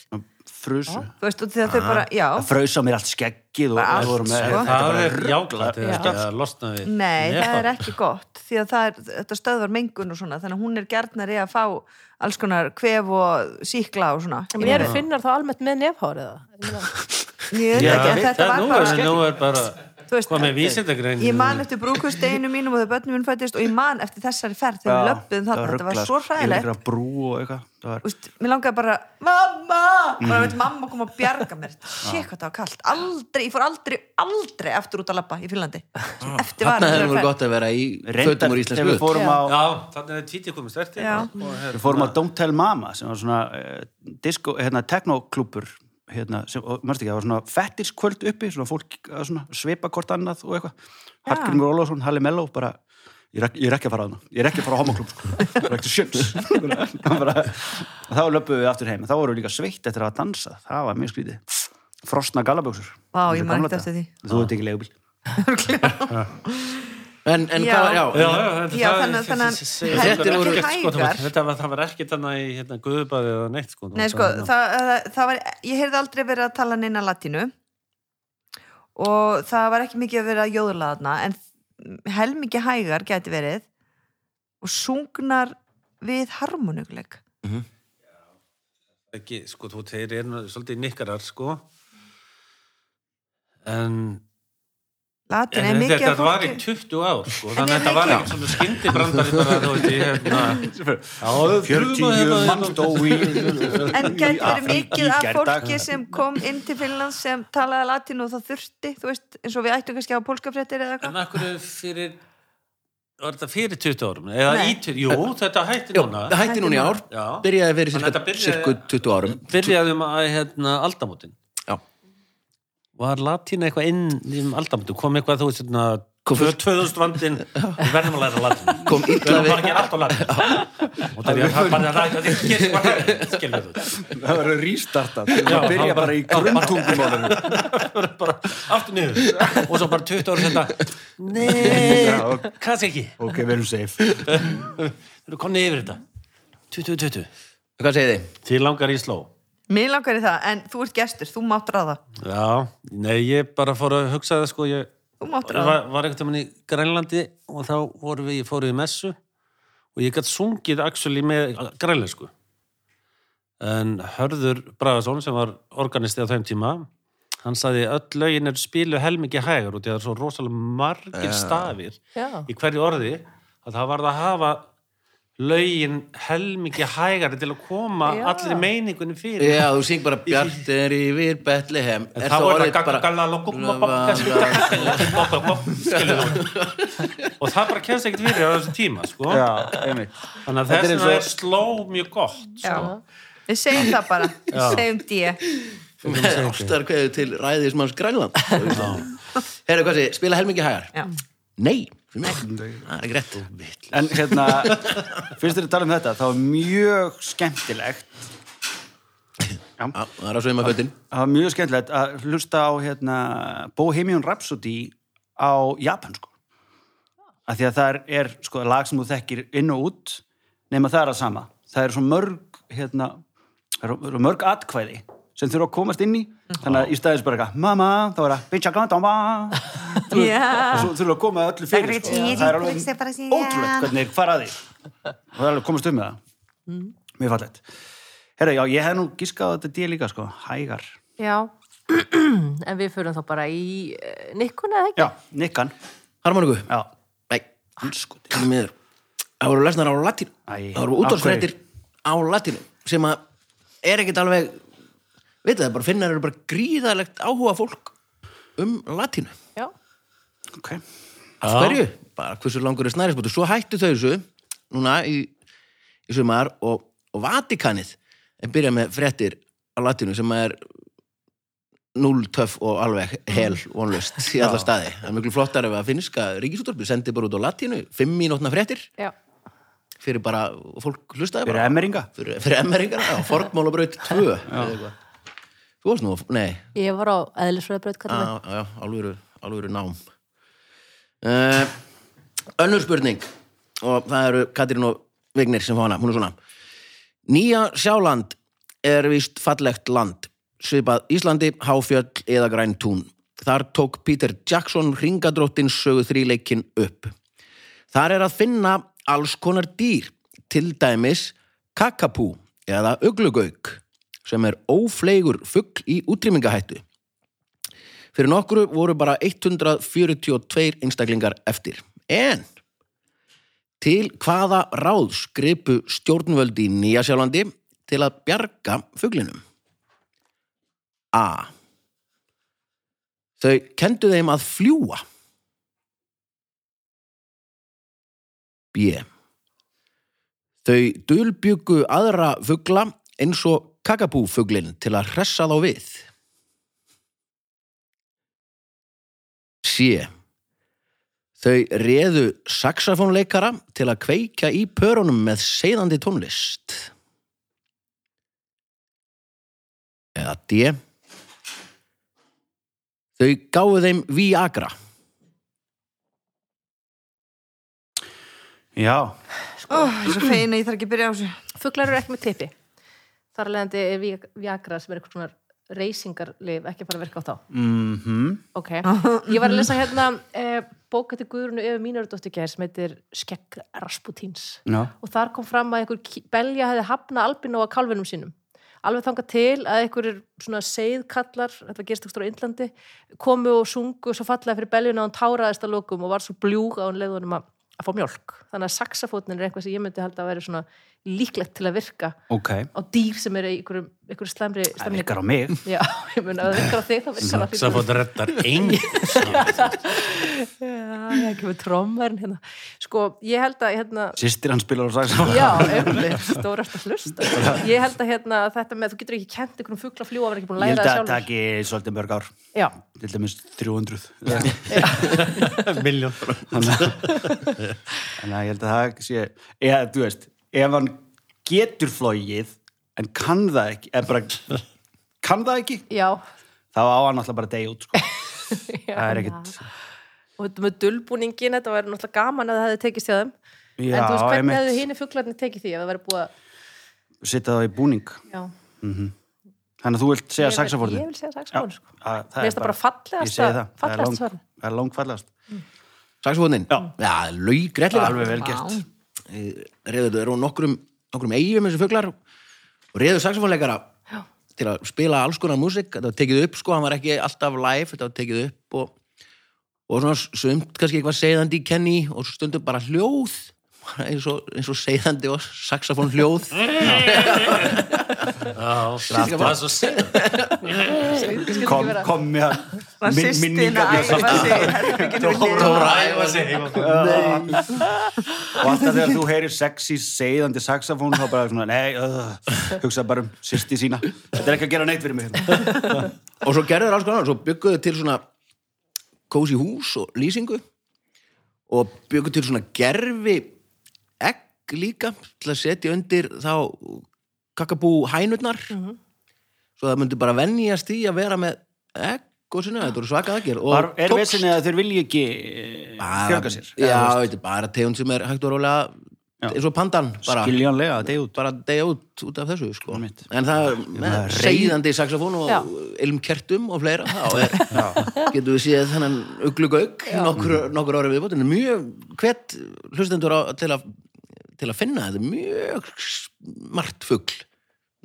Speaker 4: frusu,
Speaker 2: Þú veist, og því að þau
Speaker 4: Ah,
Speaker 2: bara, já.
Speaker 4: það frausa mér allt skeggið og
Speaker 2: Bara allt,
Speaker 4: við vorum með,
Speaker 2: sko.
Speaker 4: þetta
Speaker 3: Það
Speaker 4: bara
Speaker 3: er jáklætt eða ekki að losna við
Speaker 2: Nei,
Speaker 3: Já.
Speaker 2: það er ekki gott, því að það er, þetta stöðvar mengun og svona, þannig að hún er gjarnari að fá alls konar kvef og síkla og svona.
Speaker 5: en eru finnar þá almennt með nefhár eða? Ég meina-
Speaker 2: Ég veit
Speaker 3: Já,
Speaker 2: ekki, en þetta
Speaker 3: það-
Speaker 2: var
Speaker 3: nú
Speaker 2: bara...
Speaker 3: er- Nú er bara,
Speaker 2: Þú veist, eh,
Speaker 3: hvað með vísindagrein
Speaker 2: Ég man eftir brúkusteginu mínum og þegar börnum minn fættist og ég man eftir þessari ferð þegar við
Speaker 4: Já,
Speaker 2: löppuðum þarna, þetta var
Speaker 4: ruglað,
Speaker 2: svo
Speaker 4: sko. Yfir
Speaker 2: hræðilegt
Speaker 4: einhverja brú og eitthvað það var-
Speaker 2: Úst, Mér langaði bara, mamma bara veit, mamma kom að bjarga mér sé hvað það var kallt, aldrei, ég fór aldrei aldrei aftur út að labba í Finlandi eftir var
Speaker 1: Þarna hefur
Speaker 2: þessari
Speaker 1: verið
Speaker 2: ferð
Speaker 1: gott að vera í fötum
Speaker 4: reyndar,
Speaker 1: úr
Speaker 4: þegar
Speaker 1: íslensku
Speaker 4: við fórum á
Speaker 3: Já, þannig að tvítið komið sterti
Speaker 2: Já.
Speaker 3: eh,
Speaker 4: við fórum á Don't Tell Mama sem var svona uh, disco, hérna, teknoklúpur hérna, sem, og mörst ekki, það var svona fettiskvöld uppi, svona fólk að svona, svipa hvort annað og eitthvað, Hallgrímur Ólafsson Halli Mello, bara Ég er, ekki, ég er ekki að fara að hana, ég er ekki að fara á homoklub sko. ég er ekki sjöms bara, og þá löpum við aftur heim þá vorum við líka sveitt eftir að hafa dansað það var mjög skrítið, frosna galaböksur
Speaker 2: Vá, ég man ekki eftir því.
Speaker 4: þú veit ekki leigubíl
Speaker 1: En, en
Speaker 2: Já.
Speaker 1: hvað var, já,
Speaker 3: Já, já, þetta-
Speaker 2: Já,
Speaker 3: það-
Speaker 2: þannig að- þannig að-
Speaker 3: þetta-
Speaker 2: heldur
Speaker 3: þetta voru-
Speaker 2: ekki
Speaker 3: sko, það var-
Speaker 2: hægar.
Speaker 3: Þetta var, það var ekkert þannig í hérna, guðubæði eða neitt sko.
Speaker 2: Nei, sko, það, það, það var, ég heyrði aldrei verið að tala neina latínu og það var ekki mikið að vera að jóðla þarna en helmingi hægar gæti verið og sungnar við harmonikuleik
Speaker 3: ekki, sko, þú þeir eru nú svolítið nikkarar, sko en,
Speaker 2: Latin
Speaker 3: en
Speaker 2: er mikið
Speaker 3: þetta
Speaker 2: af
Speaker 3: var í
Speaker 2: fólki-
Speaker 3: 20 ár, sko
Speaker 2: En
Speaker 3: þannig að
Speaker 2: er
Speaker 3: þetta var
Speaker 2: mikið-
Speaker 3: ekki svona skyndibrandari bara, þú veit, ég hérna á,
Speaker 4: 40 mann
Speaker 3: hérna,
Speaker 4: dói
Speaker 2: En gæti verið mikið af fólki
Speaker 4: sem
Speaker 2: sem kom inn til Finnlands sem talaði latínu og það þurfti, þú veist, eins og við ættum kannski að hafa pólskafréttir eða
Speaker 3: hérna, en
Speaker 2: eitthvað.
Speaker 3: akkur fyrir var þetta fyrir 20 árum eða
Speaker 2: Nei.
Speaker 3: í 20, jú, þetta hætti núna
Speaker 1: það hætti núna í ár,
Speaker 3: Já.
Speaker 1: byrjaði fyrir
Speaker 3: Þannig að
Speaker 1: cirka,
Speaker 3: þetta byrjaði-
Speaker 1: cirka 20 árum
Speaker 3: byrjaðum að, hérna, aldamótin
Speaker 1: Já.
Speaker 3: var latína eitthvað inn í um aldamótin, kom eitthvað þú veist, hérna,
Speaker 1: Kom fyrst-
Speaker 3: 2000 vandinn við verðum að læra latínu
Speaker 1: kom
Speaker 3: Við
Speaker 1: illa
Speaker 3: erum
Speaker 1: við
Speaker 3: bara að gera allt á latínu og það er bara að ræða þetta gerist bara- skilur þú
Speaker 4: það verður rístartað það
Speaker 3: Já,
Speaker 4: verður að byrja
Speaker 3: bara-
Speaker 4: bara í grunntungum á þeim
Speaker 3: bara aftur niður og svo bara 20 ára senda nei, kannski ekki
Speaker 4: ok, við erum safe
Speaker 3: við erum komni yfir þetta 2020,
Speaker 1: hvað segið þið?
Speaker 3: því langar í sló
Speaker 2: Mér langar í það, en þú ert gestur, þú mátt ráða.
Speaker 3: já, nei, ég bara fór að hugsa það sko, ég
Speaker 2: Þú mátt ráða.
Speaker 3: var, var einhvern veginn í Grænlandi og þá vorum við, ég fóru í messu og ég gætt sungið actually með grænlensku en Hörður Bragason sem var organisti á þeim tíma hann sagði öll lögin er spilu helmingi hægur og það er svo rosalega margir stafir
Speaker 5: Já.
Speaker 3: í hverju orði að það varð að hafa lögin helmingi hægari til að koma
Speaker 5: Já.
Speaker 3: allri meiningunni fyrir
Speaker 1: Já, þú syng bara Bjart er yfir Betlehem
Speaker 3: En þá er það gaggala og það bara kemst ekkert fyrir á þessu tíma sko.
Speaker 4: já, einmitt
Speaker 3: þannig að
Speaker 4: Þetta er
Speaker 3: þess
Speaker 4: eins
Speaker 3: vegna
Speaker 4: og-
Speaker 3: er sló mjög gott
Speaker 2: Já.
Speaker 3: sko.
Speaker 2: Við segjum það bara,
Speaker 3: Já.
Speaker 2: við segjum D.
Speaker 1: Ástar hverju til ræðismanns Grænland Herru, hvað segið, spila helmingi hægar?
Speaker 2: Já.
Speaker 1: Nei, fyrir mig, það er ekki rétt
Speaker 4: En hérna, fyrst þér að tala um þetta, þá er mjög skemmtilegt,
Speaker 1: Já, Það er á sveima fötin
Speaker 4: það var mjög skemmtilegt að hlusta á hérna, Bohemian Rhapsody á japansku. Af því að það er sko, lag sem þú þekkir inn og út, nema það er að sama. Það eru svo mörg, hérna, það eru- eru mörg atkvæði sem þurfa að komast inn í. Þannig að í staðis bara eitthvað, mamma, þá er það, bitch, I can't, mamma. og
Speaker 2: Já.
Speaker 4: svo þurfum við að koma öllu fyrir sko.
Speaker 2: Secretary,
Speaker 4: það
Speaker 2: Secretary,
Speaker 4: er
Speaker 2: bara
Speaker 4: alveg
Speaker 2: síðan.
Speaker 4: ótrúlegt hvernig þeir fara að því og það er alveg komast um með það
Speaker 2: Mhm.
Speaker 4: mjög fallegt herra, já, ég hef nú gískað á þetta dýr líka sko, hægar
Speaker 5: Já. en við förum þá bara í eh, nikkuna, eða ekki?
Speaker 4: já, nikkan,
Speaker 1: Harmoniku?
Speaker 4: já,
Speaker 1: Nei,
Speaker 4: hanskot
Speaker 1: ekki miður Það voru lesnar á latín
Speaker 4: Æ,
Speaker 1: Það voru
Speaker 4: af
Speaker 1: útvarsfréttir á latínu sem að er ekkit alveg veit það, bara finnar eru bara gríðalegt áhuga fólk um latínu
Speaker 5: Já.
Speaker 4: ok,
Speaker 1: Af hverju? Bara hversu langur er snærisbútu Svo hættu þau þessu núna í, í sumar og, og Vatikanið en byrja með fréttir á latínu sem er núl töff og alveg hel vonlust í alla staði. Það er mjög flottar ef að finnska ríkisútorpi sendi bara út á latínu fimm mínútna fréttir
Speaker 5: Já.
Speaker 1: fyrir bara, og fólk hlustaði
Speaker 4: fyrir
Speaker 1: bara
Speaker 4: emmeringa
Speaker 1: fyrir, fyrir emmeringar, já, fornmálabraut 2 eða eitthvað. þú varst nú, nei
Speaker 5: Ég var á eðlisfræðabraut,
Speaker 1: á-
Speaker 5: kallar
Speaker 1: já, alvöru, alvöru nám uh, önnur spurning og það eru Katrín og Vignir sem fá hana, hún er svona Nýja Sjáland er vist fallegt land svipað Íslandi, Háfjöll eða Græntún þar tók Peter Jackson ringadróttin sögu þríleikin upp Þar er að finna alls konar dýr, til dæmis kakapú eða uglugauk, sem er ófleigur fugl í útrýmingahættu. Fyrir nokkru voru bara 142 einstaklingar eftir. En til hvaða ráð skripu stjórnvöldi í Nýjasjálandi til að bjarga fuglinum? A. Þau kendu þeim að fljúa. B. Þau dulbjuggu aðra fugla eins og kakabúfuglin til að hressa þá við. C. Þau reðu saxofónleikara til að kveikja í pörunum með seiðandi tónlist. Eða D. Þau gáfu þeim Viagra.
Speaker 4: já,
Speaker 2: Ó, ég er svo feina, ég þarf ekki að byrja á þessu.
Speaker 5: það. Fuglar eru ekki með tippi. Þar að leiðandi er Vi- Viagra sem er eitthvað svona reysingarlif, ekki bara að virka á þá.
Speaker 4: mhm
Speaker 5: Ok. Ég var að lesa hérna eh, bók eftir Guðrunu yfir mínardóttur gær sem heitir Skegg Rasputins.
Speaker 4: já,
Speaker 5: Og þar kom fram að einhver ki- belja hefði hafna albinó að kálfinum sínum. alveg þangað til að einhverjir svona seiðkallar, þetta gerist ekki stóra Índlandi, komu og sungu svo fallega fyrir beljuna og hann táraðist að lokum og var svo bljúg á hann leiðunum að, að fá mjólk. Þannig að saxafótnin er eitthvað sem ég myndi halda að vera svona líklegt til að virka
Speaker 4: Ok,
Speaker 5: á dýr sem eru í einhverjum, einhverjum slæmri
Speaker 4: það
Speaker 5: slæmri-
Speaker 4: virkar á mig.
Speaker 5: Já, ég mun að það virkar á þig, það virkar á þig.
Speaker 3: Saxafón reddar engin
Speaker 5: Já, það kemur trommarinn hérna. Sko, ég held að, hérna,
Speaker 4: Sýstir hann spilar á saxofón.
Speaker 5: já, einmitt, stórast að hlusta. Ég held að, hérna, þetta með, að þú getur ekki kent einhverjum fugla fljúa, verður ekki búin að
Speaker 4: Ég held að
Speaker 5: læra það
Speaker 4: það
Speaker 5: sjálfur.
Speaker 4: taki svolítið mörg ár.
Speaker 5: Já,
Speaker 4: Til dæmis 300.
Speaker 3: miljón
Speaker 4: Þannig að ég held að það sé, eða, þú veist, ef hann getur flóið, en kann það ekki, eða bara, kann það ekki,
Speaker 5: já.
Speaker 4: þá á hann alltaf bara degi út, sko. Það er ekkit,
Speaker 5: Og þetta með dulbúningin, þetta væri náttúrulega gaman að það hefði tekist hjá þeim.
Speaker 4: já,
Speaker 5: en þú veist, hvernig hefðu
Speaker 4: einmitt,
Speaker 5: hini fuglarnir tekið því að það væri búið að,
Speaker 4: setja það í búning.
Speaker 5: já.
Speaker 4: Þannig að þú vilt segja
Speaker 5: Ég vil- Ég
Speaker 4: saxafórnið.
Speaker 5: vil segja saxafórnið, sko.
Speaker 4: Það
Speaker 5: Mér finnst það bara
Speaker 4: ég
Speaker 5: fallegast
Speaker 4: segi
Speaker 5: að,
Speaker 4: það, það er
Speaker 5: fallegast
Speaker 4: lang-
Speaker 5: svarið.
Speaker 4: það er langfallegast.
Speaker 1: Saxofónin? Já. Já, laug,
Speaker 4: Alveg vel gert.
Speaker 2: Vá.
Speaker 1: reður eru á nokkrum, nokkrum eigum þessu fuglar og reður saxofónleikara til að spila alls konar músík þetta var tekið upp sko, hann var ekki alltaf live þetta var tekið upp og, og svona sumt kannski eitthvað segðandi í kenni og stundum bara hljóð bara eins og, eins og segðandi og saxofón hljóð
Speaker 3: Það er svo segð
Speaker 4: Kom, kom, já,
Speaker 2: Það
Speaker 4: min-
Speaker 2: sýstin að
Speaker 4: minningarnar.
Speaker 2: æfa sig í herberginu mínu.
Speaker 3: æfa sig
Speaker 4: og alltaf þegar þú heyrir sexy seiðandi saxofón þá bara svona, nei, uh, hugsa bara um sýsti sína þetta er ekki að gera neitt fyrir mig hérna.
Speaker 1: og svo gerðu þeir alls konar, svo bygguðu til svona kósi hús og lýsingu og bygguðu til svona gerfi egg líka til að setja undir þá kakabú hænurnar svo það myndi bara venjast í að vera með egg og svona, þetta voru svakað aðgerð og
Speaker 4: Var, er
Speaker 1: tókst
Speaker 4: vissinni að þeir vilji ekki eh,
Speaker 1: bara-
Speaker 4: fjölga sér
Speaker 1: já, þetta er bara tegund sem er hægt og rólega eins og pandan bara,
Speaker 4: skiljanlega, það er út
Speaker 1: bara degja út út af þessu sko.
Speaker 4: Einmitt.
Speaker 1: en það með
Speaker 4: reyð-
Speaker 1: seiðandi saxofón og
Speaker 5: Já.
Speaker 1: ilmkertum og fleira þá er, getum við séð þennan uglugauk nokkur, nokkur ára viðbótt en mjög hvet hlustendur á, til, að, til að finna þetta mjög smart fugl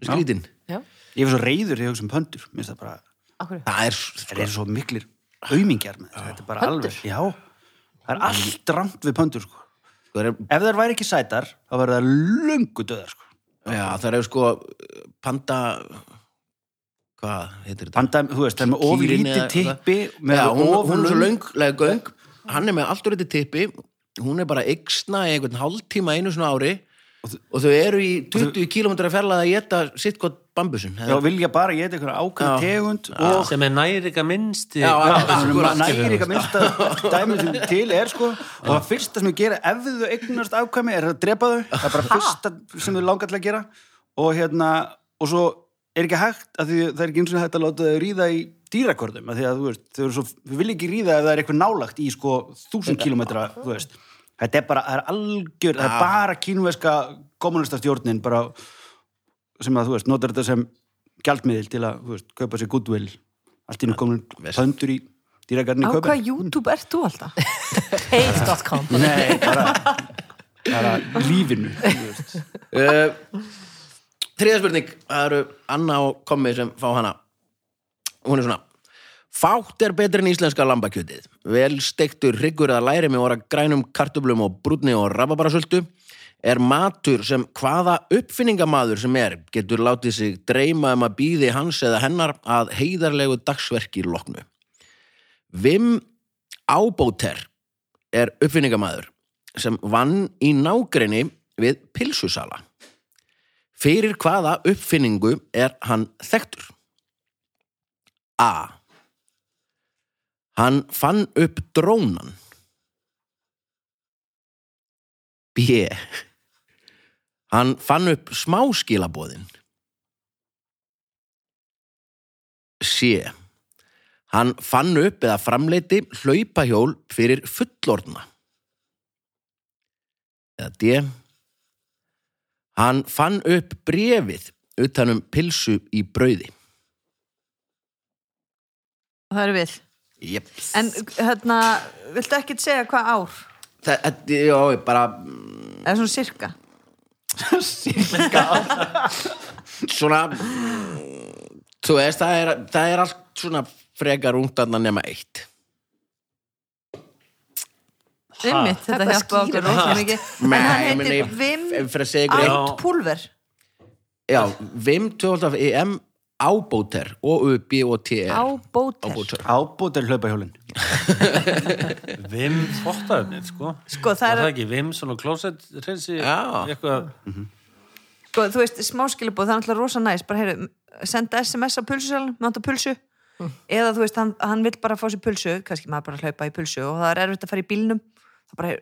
Speaker 1: skrítin
Speaker 5: Já,
Speaker 4: ég var svo reyður þegar ég hugsa um pöndur Mér finnst það bara,
Speaker 5: akkur.
Speaker 1: það er
Speaker 4: það er svo miklir aumingjar með þetta, þetta er bara
Speaker 5: Pöndur?
Speaker 4: alveg já, það er allt rangt við pöndur sko.
Speaker 1: það er,
Speaker 4: ef þær væri ekki sætar, þá verður það lungu döðar sko.
Speaker 1: já, það er sko panda hvað heitir þetta?
Speaker 4: Panda, þú veist, það er með
Speaker 1: Kýrin
Speaker 4: oflítið
Speaker 1: eða-
Speaker 4: tippi með
Speaker 1: já, hún,
Speaker 4: of
Speaker 1: hún er svo
Speaker 4: löng-
Speaker 1: lönglega göng hann er með allt úr þetta tippi hún er bara yksna í einhvern hálftíma einu svona ári og, þau eru í 20 km fjarlæða að geta sitt gott bambusin
Speaker 4: Já, vilja bara geta einhverja ákveð
Speaker 1: Já.
Speaker 4: tegund og
Speaker 3: Sem er næriga minnsti
Speaker 1: Já, já.
Speaker 4: Þannig
Speaker 1: Akkúrat.
Speaker 4: að nægir eitthvað minnsta dæmið sem til er sko og það fyrsta sem þau gera ef þau eignast afkvæmi er að drepa þau það er bara fyrsta sem þau langar til að gera og hérna, og svo er ekki hægt að því það er ekki eins og hægt að láta þau ríða í dýrakörðum að því að þú veist, þau eru svo, við vilja ekki ríða ef það er eitthvað nálagt í sko þúsund kilometra, þú veist þetta er bara, það er algjör, það er bara kínveska kommunistastjórnin bara sem að þú veist, notar þetta sem gjaldmiðil til að, þú veist, kaupa sér goodwill allt í nú komin pöndur í dýragarni
Speaker 2: Á
Speaker 4: kaupa
Speaker 2: hvað YouTube ert þú alltaf?
Speaker 5: Heils.com.
Speaker 4: Nei, bara, bara lífinu þú veist.
Speaker 1: uh, þriða spurning það eru Anna og Kommi sem fá hana hún er svona Fátt er betur en íslenska lambakjötið. Vel steiktur hryggur að læri með orða grænum kartöblum og brúnni og rababarasöldu er matur sem hvaða uppfinningamaður sem er getur látið sig dreyma um að býði hans eða hennar að heiðarlegu dagsverki loknu. Vim Ábóter er uppfinningamaður sem vann í nágrinni við pilsusala. Fyrir hvaða uppfinningu er hann þekktur? A. Hann fann upp drónan. B. Hann fann upp smáskilabóðin. C. Hann fann upp eða framleiti hlaupahjól fyrir fullorðna. Eða D. Hann fann upp brefið utanum pilsu í brauði.
Speaker 2: Það eru við.
Speaker 1: Jep.
Speaker 2: En hérna, viltu ekkert segja hvað ár?
Speaker 1: Það, þetta- já, ég bara
Speaker 2: Eða svona sirka?
Speaker 1: svona mm, þú veist, það er, það er allt svona frekar ungdanna nema eitt
Speaker 2: Einmitt, þetta
Speaker 5: Þetta
Speaker 2: hjálpa okkur
Speaker 5: skýrir
Speaker 2: rosa
Speaker 5: allt.
Speaker 2: mikið en
Speaker 1: Nei,
Speaker 2: hann
Speaker 1: ég meina,
Speaker 2: heitir
Speaker 1: ég-
Speaker 2: Vim
Speaker 1: ef- fyrir að segja ykkur eitt-
Speaker 2: Alt Pulver
Speaker 1: já, Vim 12 EM ábóter O-U-B-O-T-E
Speaker 2: á
Speaker 1: E
Speaker 2: bóter
Speaker 1: ábóter
Speaker 4: Ábútt er hlaupahjólin.
Speaker 3: Vim þvóttaefnið, sko.
Speaker 2: Sko, það er-
Speaker 3: Var það ekki Vim, svona klósett, reynsi,
Speaker 1: Já.
Speaker 3: eitthvað.
Speaker 2: sko, þú veist, smáskilabóð, það er alltaf rosa næs bara heyru, senda sms á pulsusalun með ánda pulsu eða þú veist, hann, hann vill bara fá sér pulsu kannski maður bara hlaupa í pulsu og það er erfitt að fara í bílnum það bara,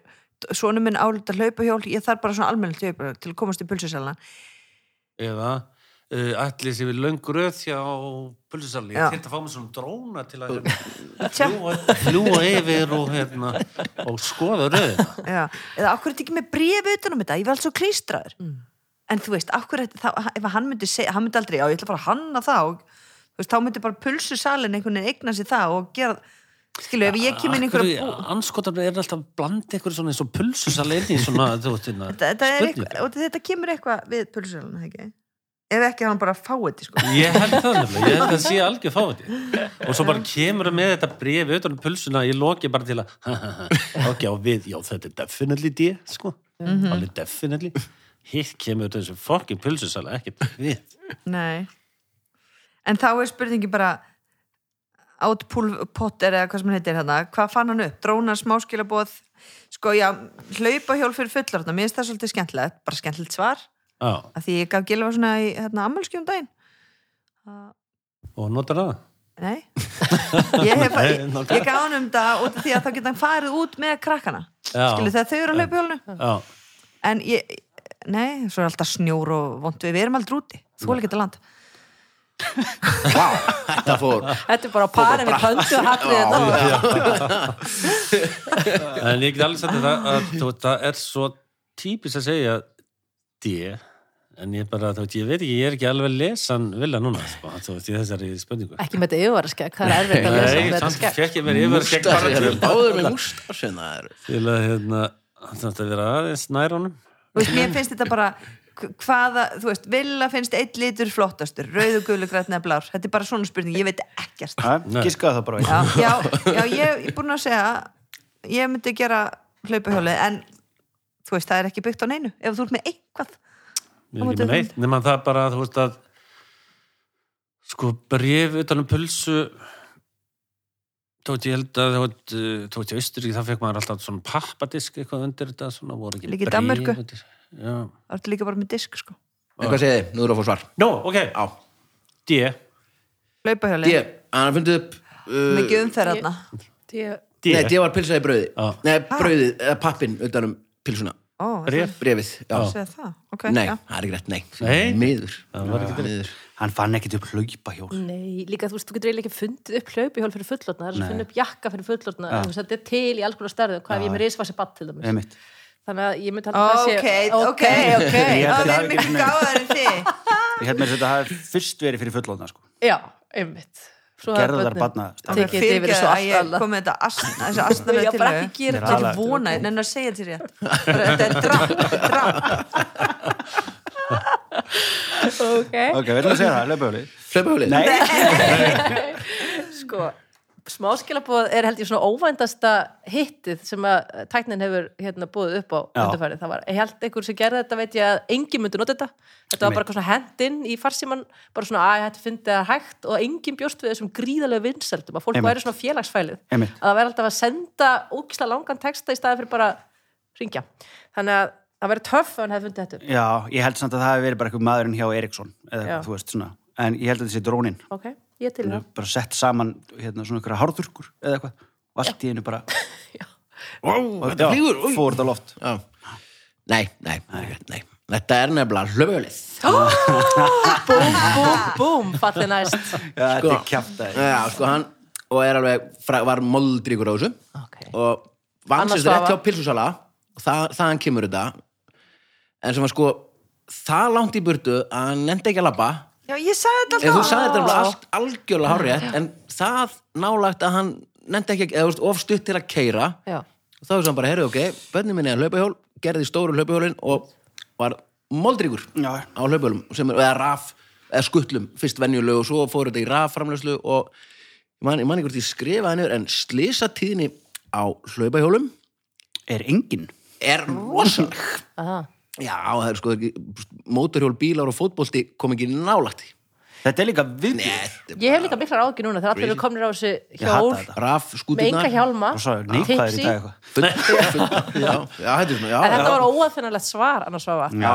Speaker 2: svona minn álut að hlaupa hjól ég þarf bara svona almennilegt hlaupa til að komast í pulsusaluna
Speaker 3: Eða uh, allir sem við löng röð hjá pulsusalni.
Speaker 2: Já.
Speaker 3: Ég þyrfti að fá mér svona dróna til að fljúa, fljúa yfir og, hérna, og skoða röðina.
Speaker 2: Já, eða akkur er þetta ekki með bréfi utan um þetta, ég var alls svo klístraður en þú veist, akkur er þetta þá- ef hann myndi, seg, hann myndi aldrei, já ég ætla að fara að hanna það og þú veist, þá myndi bara pulsu salin einhvern veginn eigna sér það og gera skilu, ef ég kem inn í einhverja bú
Speaker 3: Anskotar er alltaf bland einhver svona eins og pulsusal inn í svona, þú veist, hérna,
Speaker 2: þetta, þetta, er
Speaker 3: spurningar.
Speaker 2: eitthvað, og þetta kemur eitthvað við pulsu salin, ekki? ef ekki hann bara fáið þetta sko
Speaker 3: Ég held það nefnilega, ég held að sé algjör fáviti og svo bara kemur það með þetta brefi utan um pulsuna, ég loki bara til að ok, og við, já, þetta er definitely D, sko,
Speaker 2: Mhm.
Speaker 3: alveg definitely hitt kemur þessu fokkin pulsusala ekkert við
Speaker 2: Nei. En þá er spurningi bara Outpotter eða hvað sem hann heitir hérna, hvað fann hann upp? Drónar, smáskilabóð, sko já, hlaupahjól fyrir fullorðna, mér finnst það svolítið skemmtilegt, bara skemmtilegt svar,
Speaker 3: Já,
Speaker 2: af því ég gaf gilfa svona í hérna, ammálskjum daginn.
Speaker 3: og notar það
Speaker 2: Nei. Ég, hef, ég,
Speaker 3: Nei, nákvæmlega.
Speaker 2: ég gaf hann um það út af því að þá geta hann farið út með krakkana,
Speaker 3: Já.
Speaker 2: skilu þegar þau eru á hlaupahjólinu.
Speaker 3: Já,
Speaker 2: En ég, nei, svo er alltaf snjór og vond við, við erum aldrei úti, þú er ekki þetta land.
Speaker 1: Vá, þetta fór
Speaker 5: Þetta er bara parið við höndu hatrið þetta.
Speaker 3: en ég get alveg sagt þetta að þú veist, það er svo típist að segja D en ég bara, þú veist, ég veit ekki, ég er ekki alveg lesan vilja núna, sko, þú veist, í þessari spurningu
Speaker 5: Ekki með þetta yfirvaraskegg, það er erfitt að lesa
Speaker 3: Nei,
Speaker 5: um þetta
Speaker 3: samt
Speaker 5: skegg.
Speaker 3: fekk ég mér yfir skegg bara
Speaker 1: Mústasinn,
Speaker 3: til
Speaker 1: báður með mústasinn það eru.
Speaker 3: til að hérna hann þarf að vera aðeins nær honum
Speaker 2: þú veist, mér finnst þetta bara h- hvaða, þú veist, vilja finnst eitt litur flottastur, rauðu, gulu, grætna, blár þetta er bara svona spurning, ég veit ekkert já,
Speaker 3: Nei.
Speaker 4: Gískaði það bara. Já.
Speaker 2: já, já, ég er búin að segja ég myndi gera hlaupahjólið en þú veist, það er ekki byggt á neinu ef þú ert með eitthvað
Speaker 3: Ég er ekki með neitt, nema það bara þú veist að sko bref utan um pulsu tótt ég held að tótt ég austur það fekk maður alltaf svona pappadisk eitthvað undir þetta svona voru ekki
Speaker 2: Líka í
Speaker 3: bréf
Speaker 2: Danmörku.
Speaker 3: undir- Já.
Speaker 2: það ertu líka bara með disk, sko
Speaker 1: Eitthvað segið þið, nú erum við að fá svar
Speaker 3: Nó, ok,
Speaker 1: Já,
Speaker 3: D
Speaker 2: hlaupahjólið,
Speaker 1: ég, hann hafði fundið upp uh,
Speaker 2: mikið umferðarna
Speaker 5: Ég-
Speaker 3: D,
Speaker 1: Nei, ég var pilsaði brauði
Speaker 3: Já.
Speaker 1: Nei, brauðið, eða pappin utan um pilsuna
Speaker 2: ó,
Speaker 3: bref
Speaker 1: Brefið, já,
Speaker 2: það er það, ok
Speaker 1: Nei,
Speaker 2: já.
Speaker 1: það er ekki rétt, nei,
Speaker 3: Nei.
Speaker 1: miður
Speaker 3: Það var ekki
Speaker 1: miður
Speaker 4: Hann fann ekkit upp hlaupahjól.
Speaker 5: Nei, líka þú veist, þú getur eiginlega ekki fundið upp hlaupihjól fyrir fullorðna, það er að finna upp jakka fyrir fullorðna, þú veist, þetta er til í alls konar stærðu, hvað ef ég er með risvasi batt til dæmis.
Speaker 4: Einmitt.
Speaker 5: Þannig að ég myndi halda að
Speaker 2: ok, ok, ok
Speaker 4: Ég
Speaker 2: þá við
Speaker 4: held að það
Speaker 2: erum
Speaker 4: hafi
Speaker 2: ekki
Speaker 4: ekki
Speaker 2: gáðar en þið
Speaker 4: Ég held mér að þetta hafi fyrst verið fyrir fullóðna, sko.
Speaker 5: Já, einmitt. Svo hafa
Speaker 4: Gerðar
Speaker 5: börnin
Speaker 4: barna-
Speaker 2: Ég
Speaker 5: Tekið þetta
Speaker 2: fyrir
Speaker 5: yfir svo
Speaker 2: að ég
Speaker 5: aftalega.
Speaker 2: kom með þetta asn- þessu astnalega
Speaker 5: Já,
Speaker 2: til
Speaker 5: bara ekki gera
Speaker 2: þetta
Speaker 4: þetta.
Speaker 2: Ég vona, ég nenni að segja til rétt Bara, Þetta er drap, drap
Speaker 5: Ok,
Speaker 4: Ok, við erum að segja það, hlaupahjóli.
Speaker 1: Hlaupahjólið?
Speaker 4: Nei,
Speaker 5: sko, smáskilabóð er held ég svona óvændasta hittið sem að tæknin hefur hérna búið upp á
Speaker 4: Já.
Speaker 5: undanfærið. Það var, ég held einhver sem gerði þetta veit ég að engin myndi nota þetta. Þetta var bara eitthvað svona hendinn í farsimann, bara svona að þetta fyndi það hægt og engin bjóst við þessum gríðarlega vinsældum að fólk
Speaker 4: Einmitt.
Speaker 5: væri svona félagsfælið.
Speaker 4: Einmitt.
Speaker 5: Að það væri alltaf að senda ógislega langan texta í staði fyrir bara ringja. Þannig að það væri töff ef hann hefði fundið þetta upp.
Speaker 4: já, ég held samt að það hafi verið bara eitthvað maðurinn hjá Eriksson, eða
Speaker 5: Já.
Speaker 4: eitthvað, þú veist, svona. En ég held að þetta sé drónin.
Speaker 5: Ok, ég er til það.
Speaker 4: Bara sett saman, hérna, svona einhverja hárðurkur, eða eitthvað. Og allt í einu bara,
Speaker 1: Ó,
Speaker 4: já,
Speaker 1: þetta flýgur új.
Speaker 4: fór þetta á loft.
Speaker 1: Já. Nei, nei, það er ekki rétt, nei Þetta er nefnilega hlaupahjólið sko.
Speaker 5: Búm, búm, búm, falli næst.
Speaker 4: Já, þetta
Speaker 1: Sko.
Speaker 4: er kjaftaði.
Speaker 1: Já, sko, hann og er alveg, fra- var moldríkur á þessu
Speaker 5: Ok.
Speaker 1: og vann
Speaker 5: Annars
Speaker 1: sérst rétt
Speaker 5: staðar.
Speaker 1: hjá pilsusala og það, þaðan kemur þetta en sem var sko það langt í burtu að hann nefndi ekki að labba
Speaker 2: Já, ég sagði þetta
Speaker 1: en þú
Speaker 2: alltaf
Speaker 1: sagði þetta bara allt algjörlega hárétt en það nálægt að hann nefndi ekki, eða þú veist, of stutt til að keira
Speaker 5: Já.
Speaker 1: og þá er hann bara, heyrðu, ok, bönni minni að hlaupahjól gerði stóru hlaupahjólin og var moldríkur
Speaker 4: Já.
Speaker 1: á hlaupahjólum sem er, eða raf eða skuttlum, fyrst venjulegu og svo fóru þetta í rafframlöslu og ég man, ég man ekki hvort ég skrifaði niður en slisa tíðinni á hlaupahjólum
Speaker 4: Er engin?
Speaker 1: er rosaleg
Speaker 5: Aha.
Speaker 1: já, það er sko ekki mótorhjól, bílar og fótbolti kom ekki nálagt því.
Speaker 4: Þetta er líka viðbjörn.
Speaker 1: Þetta er
Speaker 5: Ég hef líka miklar ágjur núna þegar allir eru komnir á þessu
Speaker 4: hata
Speaker 5: hjól
Speaker 4: þetta.
Speaker 1: raf,
Speaker 5: með enga
Speaker 1: skúturnar
Speaker 5: hjálma
Speaker 4: Og svo er neikvæður í dag eitthvað.
Speaker 1: full- full- já, já, þetta er svona já,
Speaker 5: En þetta
Speaker 1: já.
Speaker 5: var óafinnalegt svar annars var
Speaker 4: Já.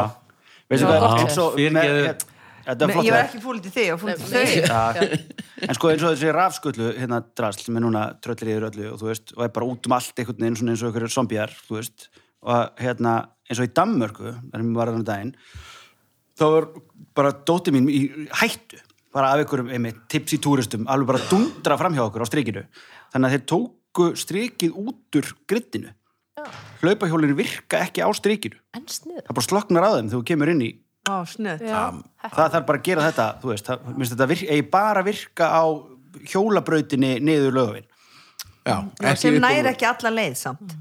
Speaker 4: Veistu
Speaker 5: Já,
Speaker 4: hvað,
Speaker 5: gott
Speaker 4: eins og...
Speaker 3: séð.
Speaker 4: með-
Speaker 3: Fyrirgeðu.
Speaker 4: Þetta er
Speaker 2: Nei, Ég
Speaker 4: flott.
Speaker 2: var
Speaker 4: lag.
Speaker 2: ekki fúlit í þig og fúlit í þau
Speaker 5: Já,
Speaker 4: En sko eins og þessi rafskullu, hérna drasl, með núna tröllir yfir öllu og þú veist, og er bara út um allt einhvern veginn, svona eins og einhverjir zombjar, þú veist, og hérna, eins og í Danmörku, þar mér var þannig daginn, þá var bara dóttir mín í hættu bara af einhverjum einmitt, tips í túristum alveg bara dundra fram hjá okkur á strikinu þannig að þeir tóku strikið út úr grittinu hlaupahjólinu virka ekki á strikinu
Speaker 5: En snið
Speaker 4: það bara sloknar á þeim þegar þú kemur inn í
Speaker 2: Á, snöð
Speaker 4: það þarf bara að gera þetta, þú veist það, minnst þetta virka, eigi bara að virka á hjólabrautinni niður lögavinn
Speaker 1: já,
Speaker 2: Sem
Speaker 1: upp á-
Speaker 2: næri ekki alla leið samt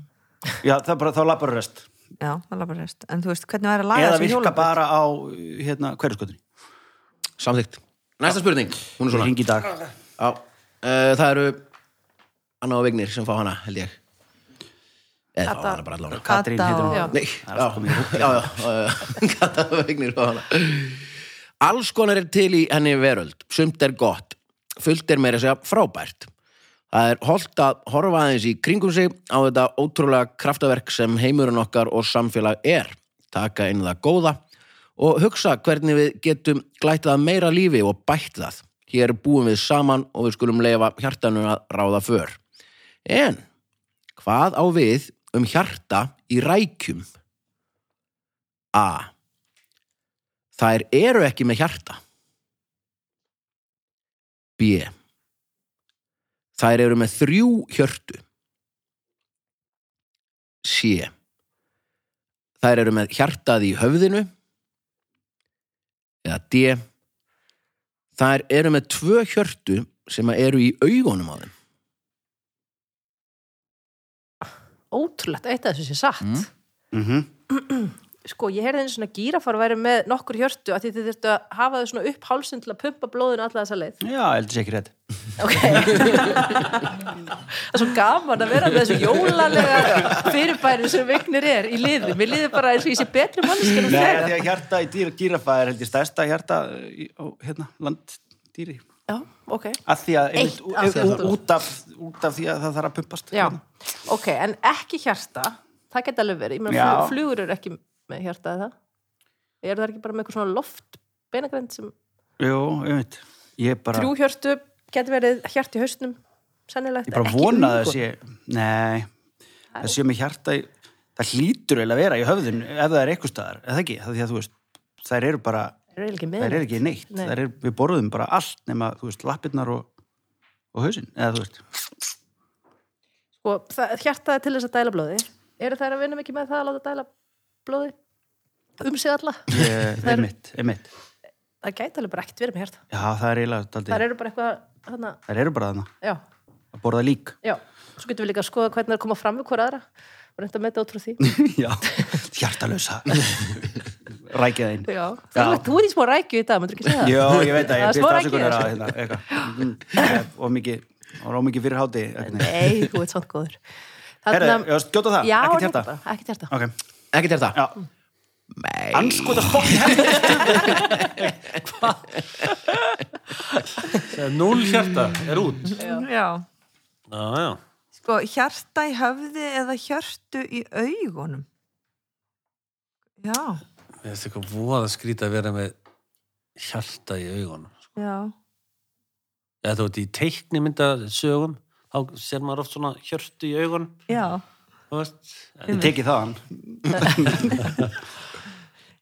Speaker 4: já, það er bara, þá lappar rest
Speaker 2: Já, það er bara rest En þú veist, hvernig væri að laga
Speaker 4: eða
Speaker 2: þessi
Speaker 4: virka
Speaker 2: hjólabraut?
Speaker 4: bara á hérna, hverjuskotinni,
Speaker 1: samþykkt næsta spurning, hún er svona
Speaker 4: ringi í dag
Speaker 1: já, uh, það eru Anna og Vignir sem fá hana, held ég eða fá
Speaker 5: Kata.
Speaker 1: hana bara allavega
Speaker 4: Katrín heitir hún
Speaker 5: Já.
Speaker 1: Nei,
Speaker 4: Það er allt komið í
Speaker 1: já, já, já, já, Kata vegnir á hana. Alls konar er til í henni veröld, sumt er gott, fullt er meira að segja frábært. Það er holdt að horfa aðeins í kringum sig á þetta ótrúlega kraftaverk sem heimurinn okkar og samfélag er, taka inn það góða og hugsa hvernig við getum glætt það meira lífi og bætt það. Hér búum við saman og við skulum leifa hjartanu að ráða för. En Hvað á við um hjarta í rækjum? A. Þær eru ekki með hjarta. B. Þær eru með þrjú hjörtu. C. Þær eru með hjartað í höfðinu. Eða D. Þær eru með tvö hjörtu sem eru í augunum á þeim.
Speaker 5: Ótrúlegt, eitt af þessu sé satt
Speaker 4: Mhm.
Speaker 5: Sko, ég heyrði einu svona gírafar væri með nokkur hjörtu að því þið þurftu að hafa þau svona upp hálsinn til að pumpa blóðinu alla þessa leið
Speaker 4: já, heldur sér ekki rétt
Speaker 5: Ok Það er svo gaman að vera með þessu jólalega fyrirbæri sem vignir er í liði Mér liði bara eins og ég sé betri mannskinn um
Speaker 4: Nei, því
Speaker 5: þegar
Speaker 4: að hjarta í dýra gírafa er heldur stærsta hjarta í, á, hérna, landdýri
Speaker 5: Já, ok
Speaker 4: að því að
Speaker 5: Eitt af
Speaker 4: út,
Speaker 5: hjörtunum.
Speaker 4: út, af, út af því að það þarf að pumpast
Speaker 5: Já, ok, en ekki hjarta Það geti alveg verið, ég meina
Speaker 4: Já.
Speaker 5: flug, flugur eru ekki með hjarta eða Er það ekki bara með eitthvað svona loft beinagrind sem
Speaker 4: Jú, einmitt Ég bara,
Speaker 5: þrjú hjörtu geti verið hjart í hausnum sennilegt,
Speaker 4: ég bara
Speaker 5: ekki
Speaker 4: vona að það
Speaker 5: lungun.
Speaker 4: sé Nei, það sé með hjarta í, það hlýtur eiginlega að vera í höfðun ef það er eitthvað staðar, eða ekki það því að þú veist, þær eru bara
Speaker 5: Það er ekki með
Speaker 4: þær eru ekki neitt,
Speaker 5: Nei.
Speaker 4: þær eru, við borðum bara allt nema, þú veist, lappirnar og, og hausinn, eða þú veist
Speaker 5: sko, það, hjartaði til þess að dæla blóði eru þær að vinna mikið með það að láta dæla blóði um sig alla
Speaker 4: ég,
Speaker 5: eru-
Speaker 4: einmitt, einmitt
Speaker 5: það gæti alveg bara ekkert verið með hjarta
Speaker 4: Já, það er eiginlega,
Speaker 5: þær
Speaker 4: daldið,
Speaker 5: eru bara eitthvað hana,
Speaker 4: þær eru bara þarna
Speaker 5: já,
Speaker 4: að borða lík
Speaker 5: já, svo getum við líka að skoða hvernig þær koma fram við hver aðra og reynda að metta út frá því
Speaker 4: Já, hjartalösa Rækja það inn
Speaker 5: já, það er þú er í smá rækju í dag, maður ekki segja það
Speaker 4: Já, ég veit að
Speaker 5: Það
Speaker 4: ég
Speaker 5: er smá
Speaker 4: byrst
Speaker 5: rækju í
Speaker 4: afsökunar að
Speaker 5: þessu.
Speaker 4: hérna, eitthvað og mikið, og rá mikið fyrir háti
Speaker 5: nei, þú ert svont góður
Speaker 4: Herra, já, skjóta það,
Speaker 5: já,
Speaker 4: ekkert
Speaker 5: nefndu
Speaker 4: hjarta.
Speaker 5: bara, ekkert hjarta
Speaker 4: Ok,
Speaker 1: Ekki til það?
Speaker 4: já
Speaker 1: Nei.
Speaker 4: Anskota spott
Speaker 3: Núl hjarta er út.
Speaker 2: Já
Speaker 3: Já, já.
Speaker 2: Sko, hjarta í höfði eða hjörtu í augunum Já,
Speaker 3: Mér finnst eitthvað voða skrýta að vera með hjarta í augunum.
Speaker 2: já
Speaker 3: Eða þú veit, í teikni mynda sögum, þá ser maður oft svona hjörtu í augunum,
Speaker 2: Já,
Speaker 3: þú veist.
Speaker 4: Ég teki það hann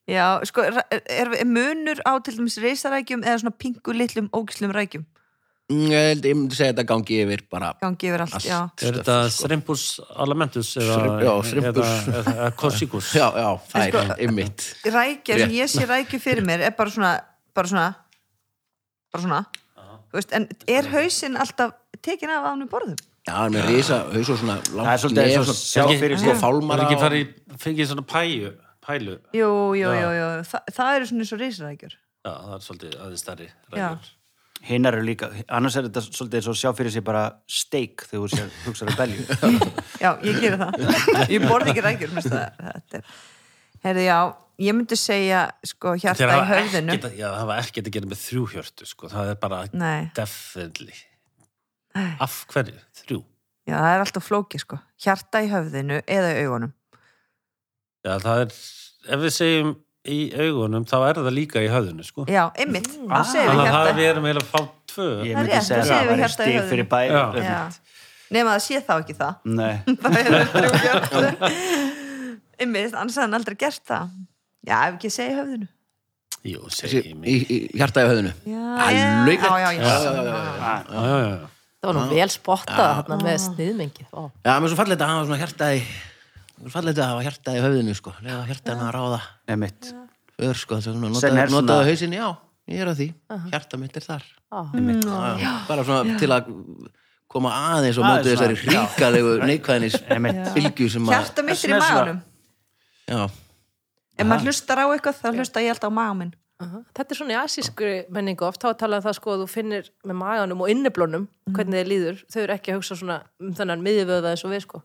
Speaker 2: já sko, ra- er, er munur á til dæmis reisarækjum eða svona pingu litlum ógislum rækjum
Speaker 1: Mm, Ég held, ég myndi segja þetta gangi yfir bara
Speaker 2: gangi yfir allt,
Speaker 1: Allt.
Speaker 2: já
Speaker 3: Er þetta Srimpus Alamentus eða,
Speaker 1: Shrimp- sko. já, Shrimpus.
Speaker 3: eða, eða, eða Corsikus?
Speaker 1: Já, já, það er ymmit
Speaker 2: rækja,
Speaker 1: Rétt.
Speaker 2: sem ég sé rækju fyrir mér er bara svona bara svona, bara svona. Þú veist, en er hausinn alltaf tekin af ánum borðum?
Speaker 1: Já, hann er með risa, haus og svona
Speaker 4: Það er svolítið eins og sjá fyrir
Speaker 1: sko
Speaker 4: sér
Speaker 3: Er
Speaker 1: fálmara
Speaker 3: ekki
Speaker 1: og-
Speaker 3: farið, í- fengið svona pæju, pælu?
Speaker 2: Jú, jú, jú, jú. Þa, það eru svona eins og reisarækjur
Speaker 3: Já, það er svolítið aðeins stærri
Speaker 2: Já.
Speaker 3: ræður.
Speaker 4: Hinnar eru líka, annars er þetta svolítið eins og sjá fyrir sig bara steik þegar þú sér, um hugsaður að belju.
Speaker 2: Já, ég gerir það Ég borði ekki rækjur mest að þetta er Herði, já, ég myndi segja sko hjarta í höfðinu
Speaker 3: ekkert, að- já, það var ekkert að gera með þrjú hjörtu, sko. Það er bara
Speaker 2: Nei,
Speaker 3: definitely. Af hverju? Þrjú.
Speaker 2: já, það er alltaf flóki sko Hjarta í höfðinu eða í augunum
Speaker 3: Já, það er, ef við segjum í augunum, þá er það líka í höfðinu, sko.
Speaker 2: Já, einmitt,
Speaker 4: Ah.
Speaker 2: þá segir við
Speaker 3: Þannig að það
Speaker 2: hjarta
Speaker 3: við erum eiginlega að fá tvö.
Speaker 2: Það
Speaker 4: Ég
Speaker 2: er
Speaker 4: myndi
Speaker 2: rétt,
Speaker 4: segja
Speaker 2: það
Speaker 4: að
Speaker 2: séu
Speaker 4: það væri
Speaker 2: hjarta í
Speaker 4: steik
Speaker 2: höfðinu.
Speaker 4: fyrir bæ. um-
Speaker 3: Já.
Speaker 2: Já, nema það sé þá ekki það
Speaker 4: Nei,
Speaker 2: Það eru þrjú hjarta Einmitt, annars hafði hann aldrei gert það Já, ef ekki segja í höfðinu
Speaker 3: Jú,
Speaker 1: Þessi,
Speaker 3: segjum
Speaker 1: í,
Speaker 3: í.
Speaker 1: í hjarta í höfðinu
Speaker 2: Já,
Speaker 1: Alveg
Speaker 2: já, já,
Speaker 1: rétt.
Speaker 2: já,
Speaker 1: Já, já, já,
Speaker 3: Já, já, já.
Speaker 5: Það var nú vel spottað þarna með sniðmengi. Ó.
Speaker 1: Já, mér er svo fallið að hafa svona hjarta í mér er fallið að hafa hjarta í höfðinu sko lega hjarta að ráða
Speaker 4: nei mitt.
Speaker 1: ör sko þess að svona
Speaker 4: Sem er
Speaker 1: notaðu
Speaker 4: svona-
Speaker 1: notað hausin, já, ég er að því hjarta mitt er þar
Speaker 5: Ó.
Speaker 1: já, bara svona til að koma aðeins og
Speaker 4: Aðeins
Speaker 1: móti þessari
Speaker 4: svona, já.
Speaker 1: ríkalegu neikvæðinis
Speaker 4: Nei mitt.
Speaker 1: fylgju sem að
Speaker 2: Hjarta mitt er í
Speaker 4: Snessla.
Speaker 2: maganum
Speaker 1: já,
Speaker 2: Ef maður hlustar á eitthvað, þá hlusta ég alltaf á magan minn
Speaker 5: Aha. Þetta er svona í asískri menningu oft, þá er talað um það sko að þú finnir með maganum og inniblónum hvernig þeir líður, þau eru ekki að hugsa svona um þannan miðjöföða eins og við sko.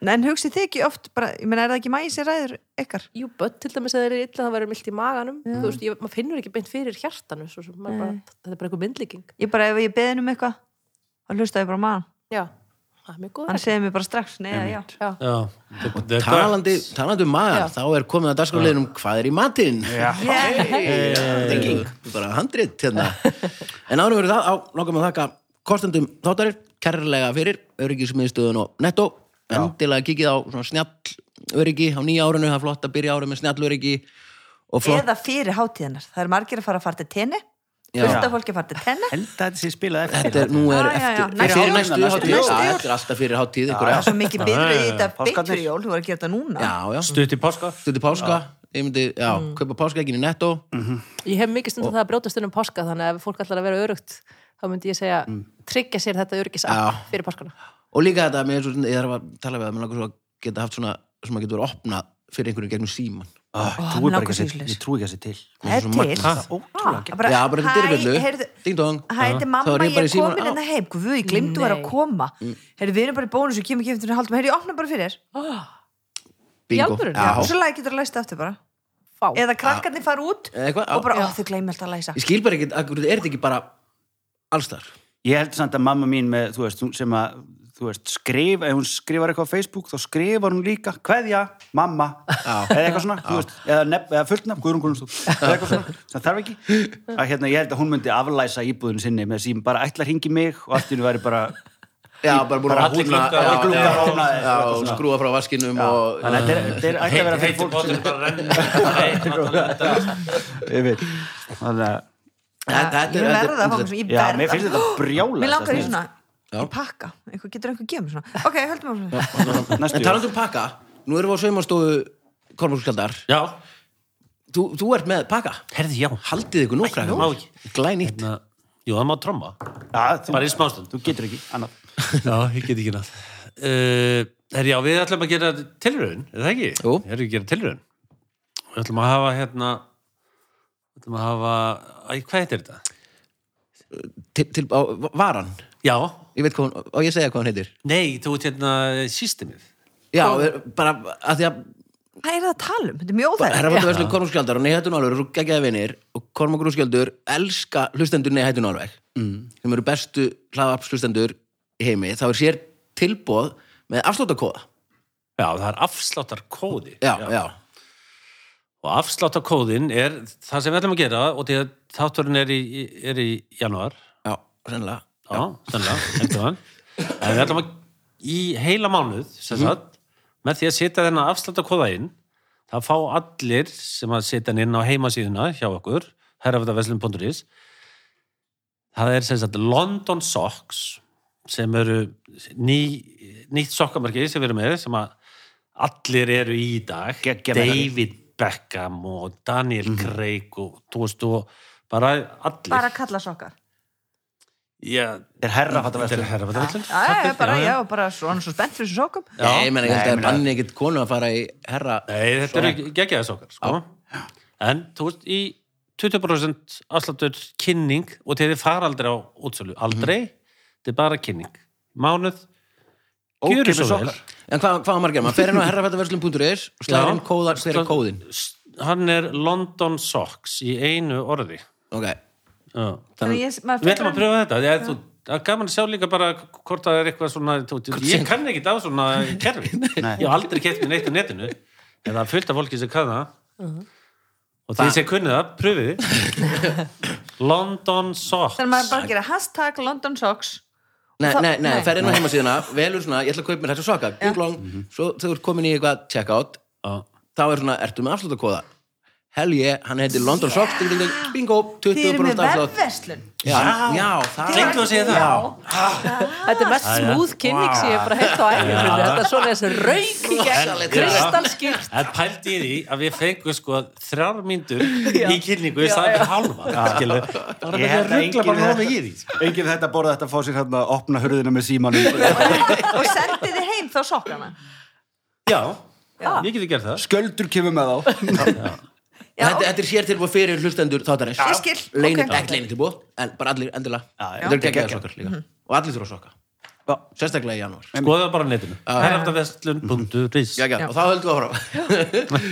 Speaker 2: Nei, En hugsið þið ekki oft, bara, ég meina, er það ekki mægi sem ræður ykkar?
Speaker 5: Jú, börn til dæmis að þeir eru illa, það verður milt í maganum, þú veist, ég, maður finnur ekki beint fyrir hjartanu, svo, sem maður bara, þetta er bara einhver myndlíking.
Speaker 2: Ég bara, ef ég beðin um eitthvað, þá hlusta ég bara á magan.
Speaker 5: Já, það er mjög góð.
Speaker 2: Hann segði mér bara strax, neða, já.
Speaker 5: Já,
Speaker 3: Já, þetta þetta er
Speaker 1: talandi, talandi um
Speaker 5: Já.
Speaker 1: maður þá er komið að dagskráliðinum hvað er í matinn
Speaker 4: Já.
Speaker 1: Hey, tenging, bara handrit hérna. en árum verið það, á, langar maður að þakka kostendum þáttarir, kærlega fyrir öryggismiðstöðun og netto endilega kikið á svona snjall öryggi á nýja árinu, það er flott að byrja árið með snjall öryggi og flott,
Speaker 2: Eða fyrir hátíðinar. Það er margir að fara að fara til tenni,
Speaker 1: Já.
Speaker 2: fullt af fólki að fara til tenni.
Speaker 4: Held að þetta sé spilað eftir.
Speaker 1: þetta er, nú er
Speaker 2: Já, já, já.
Speaker 1: eftir,
Speaker 2: Næstu
Speaker 1: fyrir
Speaker 4: jól,
Speaker 1: næstu
Speaker 4: næstu
Speaker 1: hátíð já,
Speaker 4: jól.
Speaker 1: þetta er alltaf fyrir hátíð
Speaker 2: Það
Speaker 1: einhverja,
Speaker 2: er svo mikið byrður í þetta
Speaker 4: Páskarnir.
Speaker 2: beitur jól, þú var að gera þetta núna.
Speaker 1: já, já,
Speaker 3: stutt í páska.
Speaker 1: stundi páska ég myndi, já,
Speaker 2: Mm.
Speaker 1: kaupa páskaegin í netto
Speaker 5: ég hef mikið stundum það að brjóta stundum páska, þannig að ef fólk ætlar að vera örugt, þá myndi ég segja,
Speaker 4: Mm.
Speaker 5: tryggja sér þetta öryggisapp
Speaker 1: Já.
Speaker 5: fyrir páskana.
Speaker 1: og líka þetta, mér, er svo- ég þarf að tala við að mér langar svo að geta haft svona sem að geta verið opnað fyrir einhverju gegnum síman
Speaker 4: Ég
Speaker 2: Ó,
Speaker 4: trúi Ah, bara ekki
Speaker 2: nokkuð
Speaker 4: að sé-
Speaker 2: sýslis.
Speaker 4: ég trúi ekki að sé til.
Speaker 2: Það
Speaker 1: Svo
Speaker 2: er til.
Speaker 1: magnað.
Speaker 2: Það er
Speaker 1: Já, bara þetta er
Speaker 2: hæ,
Speaker 1: villu,
Speaker 2: heyrðu,
Speaker 1: ding dong
Speaker 2: Hæ, þetta er
Speaker 1: Þá
Speaker 2: mamma,
Speaker 1: er ég
Speaker 2: ég
Speaker 1: bara í
Speaker 2: er
Speaker 1: símanum,
Speaker 2: komin
Speaker 1: á.
Speaker 2: hérna heim, guð, ég glimtu var að
Speaker 5: Nei.
Speaker 2: koma. Herri, við erum bara í bónus og kemur ekki eftir haldum, herri, ég opna bara fyrir.
Speaker 1: bingo
Speaker 5: alvöru?
Speaker 1: Já.
Speaker 2: Og svo lagi getur að læsta aftur bara.
Speaker 5: Fá.
Speaker 2: Eða krakkarnir fara út
Speaker 1: Eða eitthvað,
Speaker 2: og bara,
Speaker 1: já.
Speaker 2: ó, þau gleymi alltaf að læsa.
Speaker 1: Ég skil bara ekki, akkur, er þetta ekki bara alls þar?
Speaker 4: Ég held samt að mamma mín með, þú veist, hún sem að, þú veist, skrif, ef hún skrifar eitthvað á Facebook, þá skrifar hún líka, kveðja, mamma, eða eitthvað svona, þú veist, eða, nefn, eða fullnafn, Guðrún Guðrúnsdóttir, eða eitthvað svona, sem þarf ekki. Að hérna, ég held að hún myndi aflæsa íbúðun sinni með sím, bara ætlar hingi mig og allt í hennu væri bara,
Speaker 1: Já, bara búin
Speaker 4: Bara
Speaker 1: að húna
Speaker 3: allir gluggar-
Speaker 4: allir gluggar opnaðir,
Speaker 1: Já,
Speaker 4: eitthvað
Speaker 1: og
Speaker 4: svona.
Speaker 1: skrúa frá vaskinum og
Speaker 4: "Ah, þannig að þetta er- þetta er ætti að vera fyrir fólk sem,
Speaker 3: Heitir bóttir bara renn.
Speaker 4: ég veit, þannig að,
Speaker 1: Já, þetta
Speaker 2: Ég
Speaker 1: er- þetta
Speaker 2: verða að sko.
Speaker 1: er-
Speaker 2: fá mér svona, ég
Speaker 4: já,
Speaker 2: verða
Speaker 4: mér finnst þetta brjála.
Speaker 2: Mér langar í svona, í pakka einhver, Getur einhver gefið mér svona Ok, höldum við svona
Speaker 4: Næstu,
Speaker 1: En
Speaker 4: jól.
Speaker 1: talandi um pakka, nú erum við á saumastofu Kormúrskjaldar,
Speaker 3: Já,
Speaker 1: þú, þú ert með pakka
Speaker 3: herði, já.
Speaker 1: Haldið ykkur nú,
Speaker 3: það má ekki.
Speaker 1: krakkar Glænýtt
Speaker 3: Hérna, Jú, það má tromma.
Speaker 4: Já, þú-
Speaker 3: Bara í smástund.
Speaker 4: þú getur ekki, annað.
Speaker 3: Já, ég get ekki nátt. Uh, herri, já, við ætlum að gera tilraun, er það ekki?
Speaker 1: Jú.
Speaker 3: Herri, við gera tilraun. Við ætlum að hafa hérna, við ætlum að hafa, æ, hvað heitir þetta?
Speaker 1: til, til á, varan
Speaker 3: Já,
Speaker 1: Ég veit hvað hún, og ég segja hvað hún heitir
Speaker 3: nei, þú ert hérna sístemið.
Speaker 1: Já, er- bara að því að
Speaker 2: Hvað er það að tala um? Þetta er mjög
Speaker 1: Herra
Speaker 2: óþægilegt
Speaker 1: Valdur Veslun Kormúrskjaldar og Neiðhættun Álfur eru svo geggjaði vinir og Kormúrskjaldur elska hlustendur Neiðhættun Álfur mm. sem eru bestu hlaðvarps hlustendur í heimi þá er sér tilbóð með afslótakóða
Speaker 3: Já, það er afsláttarkóði.
Speaker 1: já, já,
Speaker 3: Og afsláttarkóðin er það sem við ætlum að gera og því að þátturinn er í, í- er í janúar.
Speaker 1: já, sennilega
Speaker 3: Já, sannlega, einhvern veginn. En við ætlum að í heila mánuð, sem sagt, með því að setja þennan afsláttakóða inn, það fá allir sem að setja hann inn á heimasíðuna hjá okkur, herrafætaveslun.is, það er sem sagt London Socks, sem eru ný, nýtt sokkamarki sem við erum með, sem að allir eru í í dag.
Speaker 4: Geggjað merki.
Speaker 3: David Beckham og Daniel Craig og tóðst og bara allir.
Speaker 2: Bara að kalla sokkar
Speaker 3: Já,
Speaker 4: Þetta er herrafattaverslun.
Speaker 3: Þetta er herrafattaverslun.
Speaker 2: Já, já, bara, já,
Speaker 3: já.
Speaker 2: bara svona svo spennt fyrir svo sokkum
Speaker 1: Nei, ég meina, ég held að
Speaker 4: Nei, ég meina-
Speaker 1: banni ekkert konu að fara í herra
Speaker 3: Nei, þetta eru geggjaðis okkar, sko. En, þú veist, í 20% afsláttur kynning og þeir fara aldrei á útsölu aldrei, þetta er bara kynning mánuð, gjöru
Speaker 4: Ókeypis
Speaker 3: svo vel
Speaker 4: sokkar.
Speaker 1: En hvað, hvað á maður að gera? Maður fer inn á herrafættaverslun.is
Speaker 3: Já.
Speaker 1: slæðir inn kóðar, hver er um
Speaker 3: Slá-
Speaker 1: kóðin?
Speaker 3: S- hann er London Socks í einu orði
Speaker 1: Ok,
Speaker 3: Já.
Speaker 2: Þannig ég,
Speaker 3: við
Speaker 2: maður
Speaker 3: ætlum að
Speaker 2: fyrir
Speaker 3: pröfa þetta ég, þú, það er gaman að sjá líka bara hvort það er eitthvað svona þú, ég kann ekki á svona kerfi ég hef aldrei keft mér neitt á netinu en það er fullt af fólki sem kann það og þið sem kunnið Uh-huh. það, pröfið þið London Socks
Speaker 2: þannig maður bara að gera hashtag London Socks
Speaker 1: nei,
Speaker 2: Það-
Speaker 1: nei, nei,
Speaker 2: nei.
Speaker 1: fer inn á heimasíðuna velur svona, ég ætla að kaupa mér þessu svaka ja. long, svo þegar þú ert komin í eitthvað checkout
Speaker 3: Já.
Speaker 1: þá er svona, ertu með afsláttakóða hell yeah, hann heitir London yeah. Socks ding, ding, ding, bingo,
Speaker 2: þið eru
Speaker 1: 20%
Speaker 2: með
Speaker 1: afslátt
Speaker 2: vefverslun
Speaker 1: já, já, það
Speaker 3: Gleymdu að segja það.
Speaker 5: Þetta er mest smúð kynning sem ég hef bara heilt á æfnum Þetta er svona þessi rauk í gegn
Speaker 1: Rosalegt.
Speaker 5: kristalskýrt
Speaker 3: Það pældi ég í því að við fengum sko þrjár myndur í kynningu í staðan fyrir hálfa skilu. Það var
Speaker 4: Ég
Speaker 3: ekki
Speaker 4: held
Speaker 3: að
Speaker 4: að
Speaker 3: ruggla bara nóg
Speaker 4: enginn-
Speaker 3: mikið í því sko.
Speaker 4: Enginn þetta borða þetta að fá sér hérna að opna hurðina með símanum.
Speaker 2: og sendið þið heim þá sokkana
Speaker 3: Já, ég geti gert það
Speaker 4: Sköldur kemur með þá.
Speaker 2: Já.
Speaker 1: Þetta, þetta er hér tilbúið fyrir hlustendur þáttarins
Speaker 2: Ég skil,
Speaker 1: Leini,
Speaker 2: ok.
Speaker 1: Ekki leini tilbúið, en bara allir endilega
Speaker 4: Já, já.
Speaker 1: Þetta er geggjaðar sokkar líka
Speaker 2: Mhm.
Speaker 1: Og allir þurfa sokka,
Speaker 4: Já.
Speaker 1: sérstaklega í janúar
Speaker 3: Skoða bara á netinu Herraftaverslun.is
Speaker 1: Já, já, og þá höldum við áfram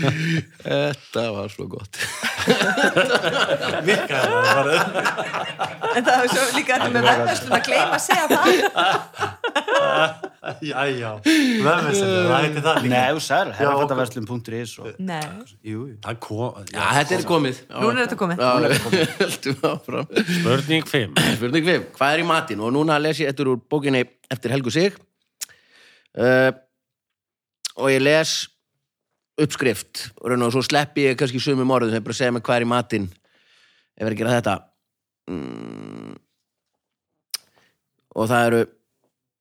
Speaker 1: Þetta var svo gott
Speaker 2: en það er svo líka þetta með vefverslun að gleyma að segja það
Speaker 3: Já, já, vefverslun, það heiti það
Speaker 4: Nei, þú sær, herrafattaverslun.is og...
Speaker 2: nei,
Speaker 4: Eh, Jú, jú.
Speaker 3: Það kom,
Speaker 1: Já, þetta er komið
Speaker 2: núna er þetta komið
Speaker 1: Já, höldum við áfram
Speaker 3: spurning 5
Speaker 1: Spurning 5, hvað er í matinn? Og núna les ég eftir úr bókinni eftir Helgu Sig uh, og ég les uppskrift og raun og svo sleppi ég kannski sumum orðum sem bara segja mig hvað er í matinn ef er að gera þetta mm. og það eru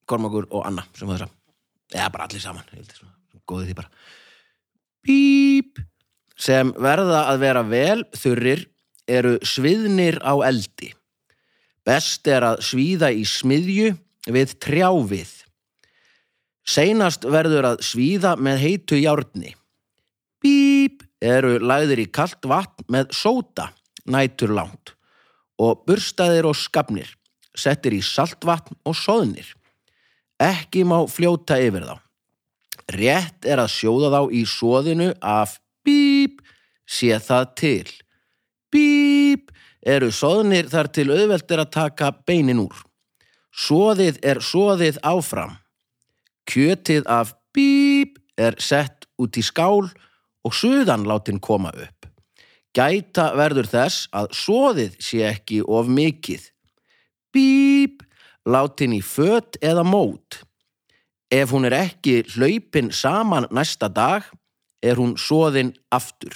Speaker 1: Kormakur og Anna sem var þessa eða bara allir saman ég held svona, góði því bara Bíp sem verða að vera vel þurrir eru sviðnir á eldi Best er að svíða í smiðju við trjávið. Seinast verður að svíða með heitu járni. Bíp eru lagðir í kalt vatn með sóta, nætur langt, og burstaðir og skapnir, settir í saltvatn og soðnir. Ekki má fljóta yfir þá. Rétt er að sjóða þá í soðinu af bíp, sé það til. Bíp eru soðnir þar til auðvelt er að taka beinin úr. Soðið er soðið áfram. Kjötið af bíp er sett út í skál og suðan látin koma upp. Gæta verður þess að soðið sé ekki of mikið. Bíp látin í fött eða mót. Ef hún er ekki hlaupin saman næsta dag, er hún soðin aftur.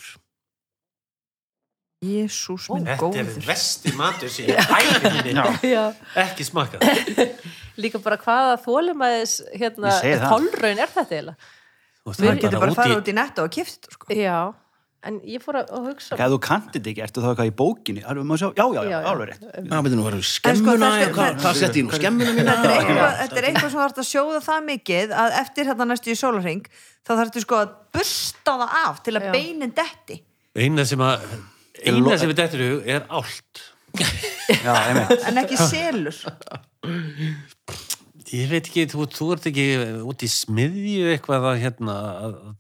Speaker 2: jésús minn
Speaker 3: Þetta er
Speaker 2: góður
Speaker 3: vesti matur sem ég hæði minni
Speaker 5: Já.
Speaker 3: Ekki smakka það
Speaker 5: Líka bara hvaða þólumæðis hérna,
Speaker 4: Ég segi það.
Speaker 5: tólraun er þetta eiginlega
Speaker 3: Þú veist, það
Speaker 2: við
Speaker 3: er
Speaker 2: getum bara að
Speaker 3: úti
Speaker 2: fara
Speaker 3: í-
Speaker 2: út í netto og kift þetta, sko.
Speaker 5: Já, en ég fór að að hugsa
Speaker 4: Ef þú kantir þetta ekki, ertu þá eitthvað í bókinni? Alveg, má sjá, já, já, já,
Speaker 5: Já, já.
Speaker 4: alveg rétt.
Speaker 1: Já, betur nú, varum við skemmuna
Speaker 2: það-
Speaker 1: eða hvað, hvað sett ég nú, skemmuna mína?
Speaker 2: þetta er eitthvað, þetta er eitthvað sem þarf að sjóða það mikið að eftir hérna næstu í sólarring þá þarftu sko að bursta það af til að
Speaker 5: Já.
Speaker 2: beinin detti
Speaker 3: Eina sem að Eina sem við dettur í hug er allt
Speaker 4: Já, einmitt.
Speaker 2: en ekki selur
Speaker 3: Ég veit ekki, þú, þú ert ekki út í smiðju eitthvað að hérna að,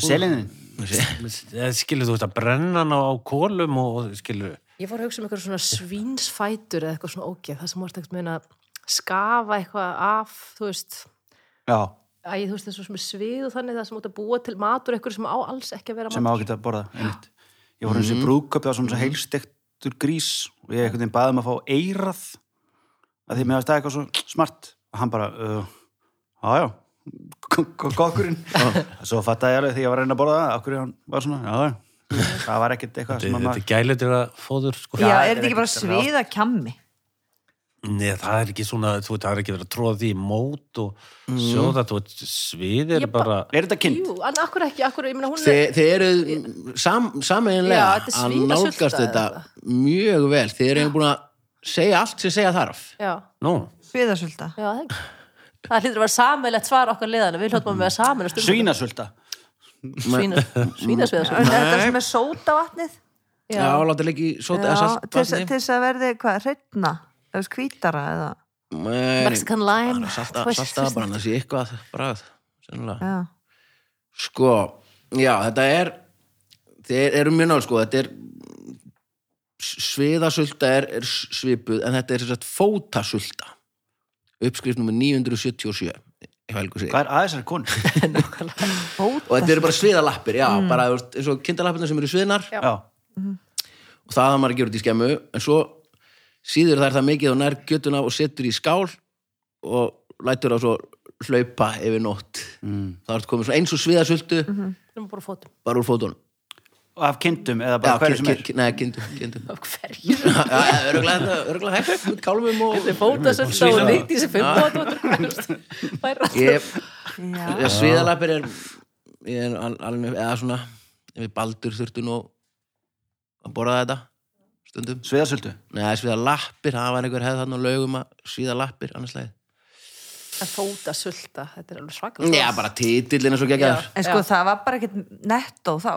Speaker 4: Selinin,
Speaker 3: að- skilur þú veist að brenna hann á, á kolum og skilur
Speaker 5: Ég fór að hugsa um eitthvað svona svínsfætur eða eitthvað svona ógeð, það sem var ekkert meina að skafa eitthvað af, þú veist,
Speaker 4: já,
Speaker 5: æ, þú veist, þessu sem er svið og þannig, það sem út að búa til matur eitthvað sem á alls ekki að vera
Speaker 4: sem
Speaker 5: matur.
Speaker 4: ágætt að borða, einmitt. Ég voru
Speaker 3: Mhm.
Speaker 4: eins og brúðköp, það var svona heilstektur grís og ég einhvern veginn baði um að fá eirað að því mér varst það eitthvað svo smart og hann bara, uh, já, já, kokkurinn. Svo fattaði ég alveg því ég var að reyna að borða það, okkur hann var svona, já, já, það var ekkert eitthvað sem að
Speaker 3: þetta
Speaker 4: maður...
Speaker 3: er gælutir að fóður sko.
Speaker 2: já,
Speaker 4: það
Speaker 2: er
Speaker 4: er
Speaker 2: þetta ekki bara
Speaker 4: ekkert ráð.
Speaker 2: sviða kjammi
Speaker 3: Nei, það er ekki svona, þú veit, það er ekki verið að tróða því í mót og
Speaker 2: Mm.
Speaker 3: sjóða, þú veit, svið er
Speaker 5: Ég ba-
Speaker 3: bara
Speaker 4: Er þetta kynnt?
Speaker 5: Jú, en akkur ekki, akkur, ég meina hún
Speaker 1: Þi, þið eru sam, sameinlega
Speaker 5: Já, þetta er
Speaker 1: að
Speaker 5: svínasulta
Speaker 1: nálgast þetta
Speaker 5: eða
Speaker 1: mjög vel. Þið eru búin að segja allt sem segja þarf.
Speaker 5: Já,
Speaker 3: Nú,
Speaker 2: sviðasölda
Speaker 5: já, það ekki. Það hlýtur að vera sammeilegt svar okkar liðana, við hljóttum að vera um- sammeilegt
Speaker 4: Svínasulta.
Speaker 5: Svína, svínasviða,
Speaker 2: þetta sem er sóta vatnið
Speaker 1: Já, láta leik í sóti
Speaker 2: Já,
Speaker 1: eða
Speaker 2: til þess til
Speaker 1: saltvatni.
Speaker 2: þess að verði hvað, hreitna eða þú veist, hvítara eða
Speaker 1: Nei,
Speaker 5: Mexican lime
Speaker 1: bara salta-
Speaker 5: þú veist,
Speaker 1: Salta bara hann, það sé eitthvað bragð. Sennilega.
Speaker 2: já,
Speaker 1: Sko, já, þetta er, þeir eru mjög náður, sko, þetta er, sviðasulta er, er svipuð, en þetta er sem sagt fótasulta. Uppskrift nummer 977, hjá Helgu sig.
Speaker 4: Hvað er aðeins er konu?
Speaker 1: Og þetta eru bara sviðalappir, já, mm. bara þú veist, eins og kindalappirna sem eru sviðnar
Speaker 5: Já.
Speaker 4: Já,
Speaker 1: og það hafa maður að gera út í skemmu, en svo síður þær það mikið og nær göttuna og setur í skál og lætur það svo hlaupa yfir nótt. Mm. Það er komið svona eins og sviðasultu,
Speaker 5: Við erum bara á fótum.
Speaker 1: bara úr fótunum.
Speaker 4: og af kindum eða
Speaker 1: Já,
Speaker 4: bara hverju sem
Speaker 1: kin-
Speaker 4: er
Speaker 1: kin- Nei, kindum, kindum.
Speaker 5: Af hverju?
Speaker 1: Örgulega hægt, kálmum og...
Speaker 5: Þetta er fótasölda og neitt í þessi fimm fótum. Bæra.
Speaker 1: Ég,
Speaker 2: já,
Speaker 1: ég sviðalapir er, ég er al- alveg, eða svona, ef við baldur þurftu nú að borða þetta stundum.
Speaker 4: Sviðasöldu
Speaker 1: Nei, sviðalappir, það var einhver hefð þarna á laugum að sviðalappir, annars leið.
Speaker 5: En fótasölda, þetta er alveg svakar.
Speaker 1: Já, bara titillin er svo geggjaður.
Speaker 2: en sko
Speaker 5: Já.
Speaker 2: það var bara ekkert nettó þá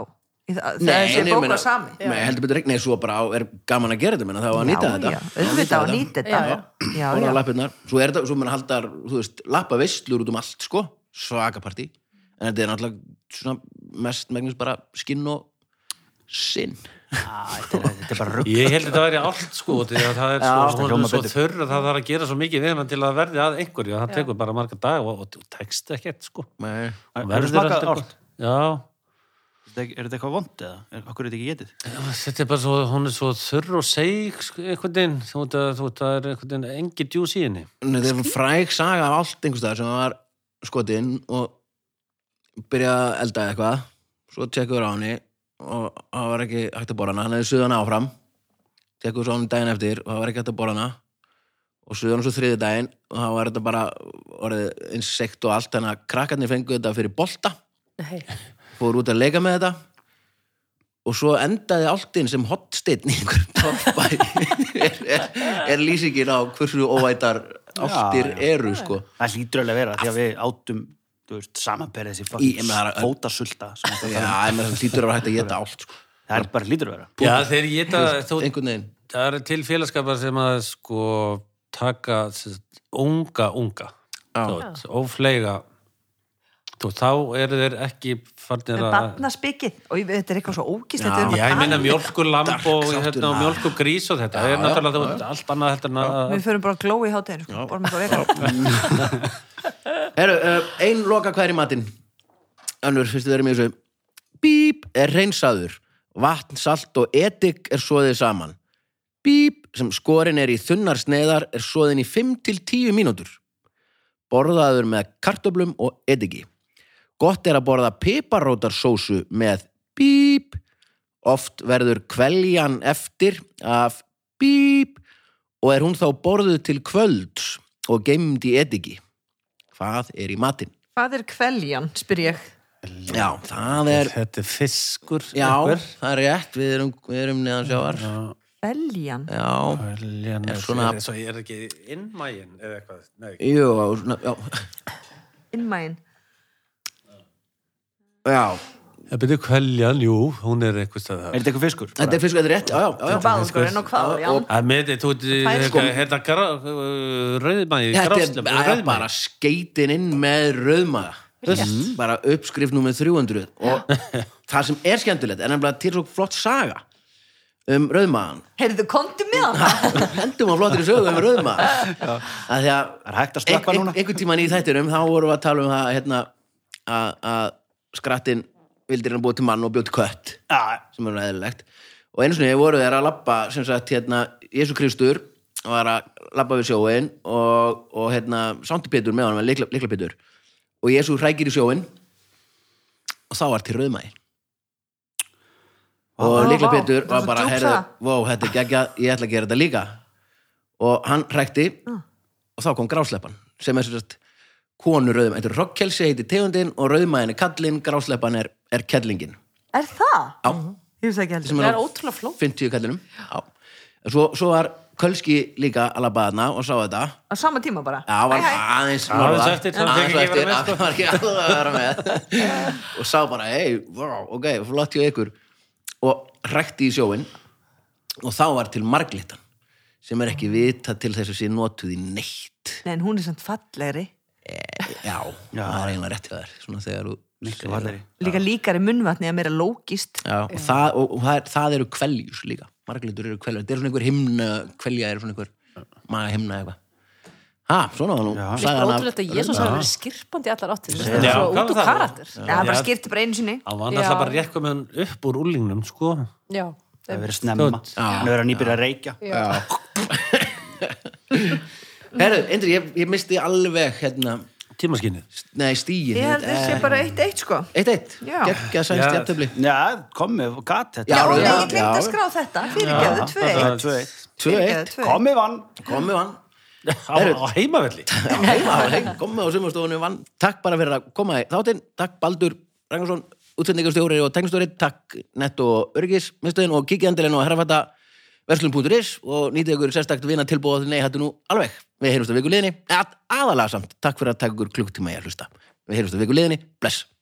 Speaker 2: í það- þegar
Speaker 1: nei,
Speaker 2: þessi
Speaker 1: ég
Speaker 2: bók
Speaker 1: meina-
Speaker 2: var samin
Speaker 1: Nei, heldur betur ekki, nei, svo bara á, er gaman að gera þetta, menna, það var að nýta þetta.
Speaker 2: já, auðvitað að nýta þetta
Speaker 5: Já,
Speaker 2: já,
Speaker 1: borða
Speaker 2: já,
Speaker 1: lappirnar, svo er þetta, svo mann haldar þú veist, lappa veistlur út um allt, sko svakapartí, en þetta er náttúrulega svona mest megnast bara skinn og sinn
Speaker 4: Ah, Þetta er bara rugg
Speaker 3: Ég held að þetta væri allt sko því að það er
Speaker 4: þetta
Speaker 3: svo, hún
Speaker 4: hljómar
Speaker 3: er svo
Speaker 4: betur.
Speaker 3: þurr að það þarf að gera svo mikið við hann til að verði að einhverju það tekur bara marga dag og, og, og tekst ekkert sko
Speaker 1: Nei.
Speaker 3: Hún
Speaker 4: Hefur smakað
Speaker 3: alltaf
Speaker 4: álft?
Speaker 3: gott. Já,
Speaker 4: Er þetta eitthvað vond eða? Er- Okkur er þetta ekki getið?
Speaker 3: Þetta er bara svo, hún er svo þurr og seig sko, einhvern veginn, þú veit að þú veit að það er einhvern veginn engi djús í henni
Speaker 1: En þetta er fræg saga af allt einhverstaðar sem var skotinn og byrjaði að elda eitthvað svo tekkuður á henni og það var ekki hægt að borða hana, hann hefði suðan áfram tekkuður svo á henni daginn eftir og það var ekki hægt að borða hana og suðan svo þriði daginn og það var þetta bara orðið insekt og allt þannig að krakkarnir fengu þetta fyrir bolta
Speaker 5: Nei,
Speaker 1: fór út að leika með þetta og svo endaði áltin sem hotsteinn í einhverjum toppbæ er, er, er lýsingin á hversu óvætar áltir
Speaker 4: Já,
Speaker 1: eru sko
Speaker 4: Það hlýtur alveg að vera því að við átum þú veist, samanberið þessi
Speaker 1: Í- ég meina, það
Speaker 4: fucking
Speaker 1: er-
Speaker 4: fótasulta sem þetta
Speaker 1: já,
Speaker 4: er.
Speaker 1: en það hlýtur að vera hægt að geta ált sko.
Speaker 4: Það er bara hlýtur að vera
Speaker 3: Já, þeir geta, þú,
Speaker 1: einhvern veginn
Speaker 3: það eru til félagskapar sem að sko taka sem sagt, unga, unga þú veit, ófleiga þú, þá eru þeir ekki farnir að
Speaker 2: barnaspikið og ég- þetta er eitthvað svo ógíslegt
Speaker 1: Já.
Speaker 2: við erum að
Speaker 3: Já, ég
Speaker 2: tala
Speaker 3: meina
Speaker 2: um
Speaker 3: mjölkulamb og,
Speaker 1: Dark þáttur,
Speaker 3: hérna, og
Speaker 1: já.
Speaker 3: mjölkugrís og þetta, það er
Speaker 1: já,
Speaker 3: náttúrulega þú veit, allt annað heldur en
Speaker 2: þetta.
Speaker 3: að
Speaker 2: við förum bara að glói í hátæðinu sko, borðum eitthvað vegan.
Speaker 1: Heru, uh, ein loka hver í matinn annur, fyrstu verið mér þessu bíp er reynsaður vatn, salt og etik er svoðið saman bíp sem skorinn er í þunnar sneiðar er svoðin í 5-10 mínútur borðaður með kartöblum og etiki gott er að borða piparótarsósu með bíp oft verður kveljan eftir af bíp og er hún þá borðuð til kvölds og geimd í etiki hvað er í matinn?
Speaker 2: hvað er kveljan, spyr ég
Speaker 1: Já, það er
Speaker 3: þetta er fiskur
Speaker 1: Já,
Speaker 3: einhver.
Speaker 1: það er rétt, við erum, við erum neðan sjáar Já,
Speaker 2: kveljan,
Speaker 3: Veljan,
Speaker 1: Er svona-
Speaker 3: svo ég er ekki innmægin eða eitthvað, nei
Speaker 1: jú, svona, já
Speaker 2: innmægin
Speaker 1: Já,
Speaker 3: Það byrju kveljan, jú, hún er eitthvað stað
Speaker 4: Er þetta eitthvað fiskur?
Speaker 1: þetta er fyrst þetta er sko- rétt, já, já, já, já.
Speaker 2: báðungurinn og kveljan
Speaker 3: Það með þetta, þú
Speaker 2: Fær
Speaker 3: veit,
Speaker 2: sko-
Speaker 3: hérna eh, rauðmæði,
Speaker 1: Þetta
Speaker 3: gráslefur,
Speaker 1: er að bara
Speaker 3: rauðmæði.
Speaker 1: skeitin inn með rauðmaða Upp- bara uppskrif númer 300 og það sem er skemmtilegt er nefnilega til svo flott saga um rauðmaðan
Speaker 2: heyrðu, komdu með hann
Speaker 1: hendum að flottir í sögu um rauðmaðan að því að
Speaker 4: Er hægt að slökkva núna?
Speaker 1: einhvern tíman í þættinum þá vorum við að tala um það hérna, að, að skrattin vildir hann búið til mann og bjóð til kött
Speaker 4: Já,
Speaker 1: sem er eðlilegt og einu sinni voru þeir að labba sem sagt hérna Jésu Kristur var að labba við sjóin og, og hérna Sándi Pétur með honum líkla, líkla Pétur og Jésu hrækir í sjóin og þá var til rauðmæði og
Speaker 2: Vá,
Speaker 1: líkla
Speaker 2: vá,
Speaker 1: Pétur
Speaker 2: það er
Speaker 1: var
Speaker 2: svo
Speaker 1: bara
Speaker 2: djúp
Speaker 1: heyrðu,
Speaker 2: saga."
Speaker 1: vó, þetta er geggja, ég ætla að gera þetta líka og hann hrækti
Speaker 2: Ah.
Speaker 1: og þá kom grásleppan sem er sem sagt konu rauðmæði, þetta er rokkkelsi heiti tegundin og rauðmæðin er kallinn, grásleppan er, er kellingin
Speaker 2: er það?
Speaker 1: Já.
Speaker 2: ég veist ekki heldur
Speaker 1: sem
Speaker 5: það
Speaker 1: er
Speaker 5: er
Speaker 1: á
Speaker 5: ótrúlega flók.
Speaker 1: 50 kallinum Já. En svo, svo var Kölski líka að labba þarna og sá þetta
Speaker 2: á sama tíma bara
Speaker 1: Já, var aðeins
Speaker 3: Aðeins
Speaker 1: norðar.
Speaker 3: eftir, hann
Speaker 1: aðeins
Speaker 3: fékk
Speaker 1: eftir,
Speaker 3: ekki vera með, sko.
Speaker 1: hann var ekki alveg að vera með og sá bara, hei, wow, ok, flott hjá ykkur og rekti í sjóin og þá var til marglitan sem er ekki vita til þess að sé notuð í neitt
Speaker 2: Nei, en hún er samt fallegri
Speaker 1: já, það er eiginlega rétt hjá þér svona þegar þú
Speaker 4: miklu valleri
Speaker 2: líka líkari munnvatni að meira lógist
Speaker 1: Já, og, það, og, og það, er, það eru kveljus líka marglitur eru kveljur, þetta er svona einhver himna kvelja er svona einhver maga himna eitthvað ha, svona var nú
Speaker 4: Já.
Speaker 5: Það
Speaker 1: sagði
Speaker 5: er
Speaker 1: hann
Speaker 5: ótrúlegt að Jésús hafa verið skirpandi í allar áttir Það er
Speaker 3: Já,
Speaker 5: svo
Speaker 3: hvað
Speaker 5: út
Speaker 3: var
Speaker 5: úr
Speaker 3: það?
Speaker 5: karakter
Speaker 2: Já, það bara
Speaker 3: Já.
Speaker 2: skipti bara einu sinni
Speaker 3: Það var
Speaker 5: Já.
Speaker 3: náttúrulega bara rétt komið hann upp úr úlingnum, sko.
Speaker 5: Já,
Speaker 4: það
Speaker 5: em,
Speaker 4: verið snemma,
Speaker 3: Stótt.
Speaker 4: það verið að nýbyrja að reykja
Speaker 1: herru, Indri, ég, ég misti alveg hérna,
Speaker 3: Tímaskinnið.
Speaker 1: nei, stíin
Speaker 2: Ég held þessi bara eitt eitt sko
Speaker 1: eitt eitt,
Speaker 2: Já.
Speaker 1: geggja sænst
Speaker 3: Já.
Speaker 1: jættöfli
Speaker 4: já, komið, gat þetta
Speaker 2: Já, og
Speaker 1: já,
Speaker 2: ég glemt að
Speaker 1: já.
Speaker 2: skrá þetta, fyrirgeðu, tvö
Speaker 3: þetta
Speaker 2: eitt
Speaker 3: var-
Speaker 4: 2-1
Speaker 2: Fyrirgefðu,
Speaker 1: 2-1,
Speaker 2: tvö eitt.
Speaker 4: komið vann
Speaker 1: komu hann
Speaker 3: Á, á heimavelli.
Speaker 1: Já, heima, heim, komu á sumastofunni vann takk bara fyrir að koma í þáttinn takk Baldur Rangarsson, útsendingastjóri og teknistjóri, takk Netto og Örgismiðstöðin og kikið endilinn og herrafata verslun.is og nýtið ykkur sérstakt vina tilbúið nei, hættu nú alveg við heyrumst á vikuleginni, að aðalega samt takk fyrir að taka ykkur klukktíma í að hlusta við heyrumst á vikuleginni, bless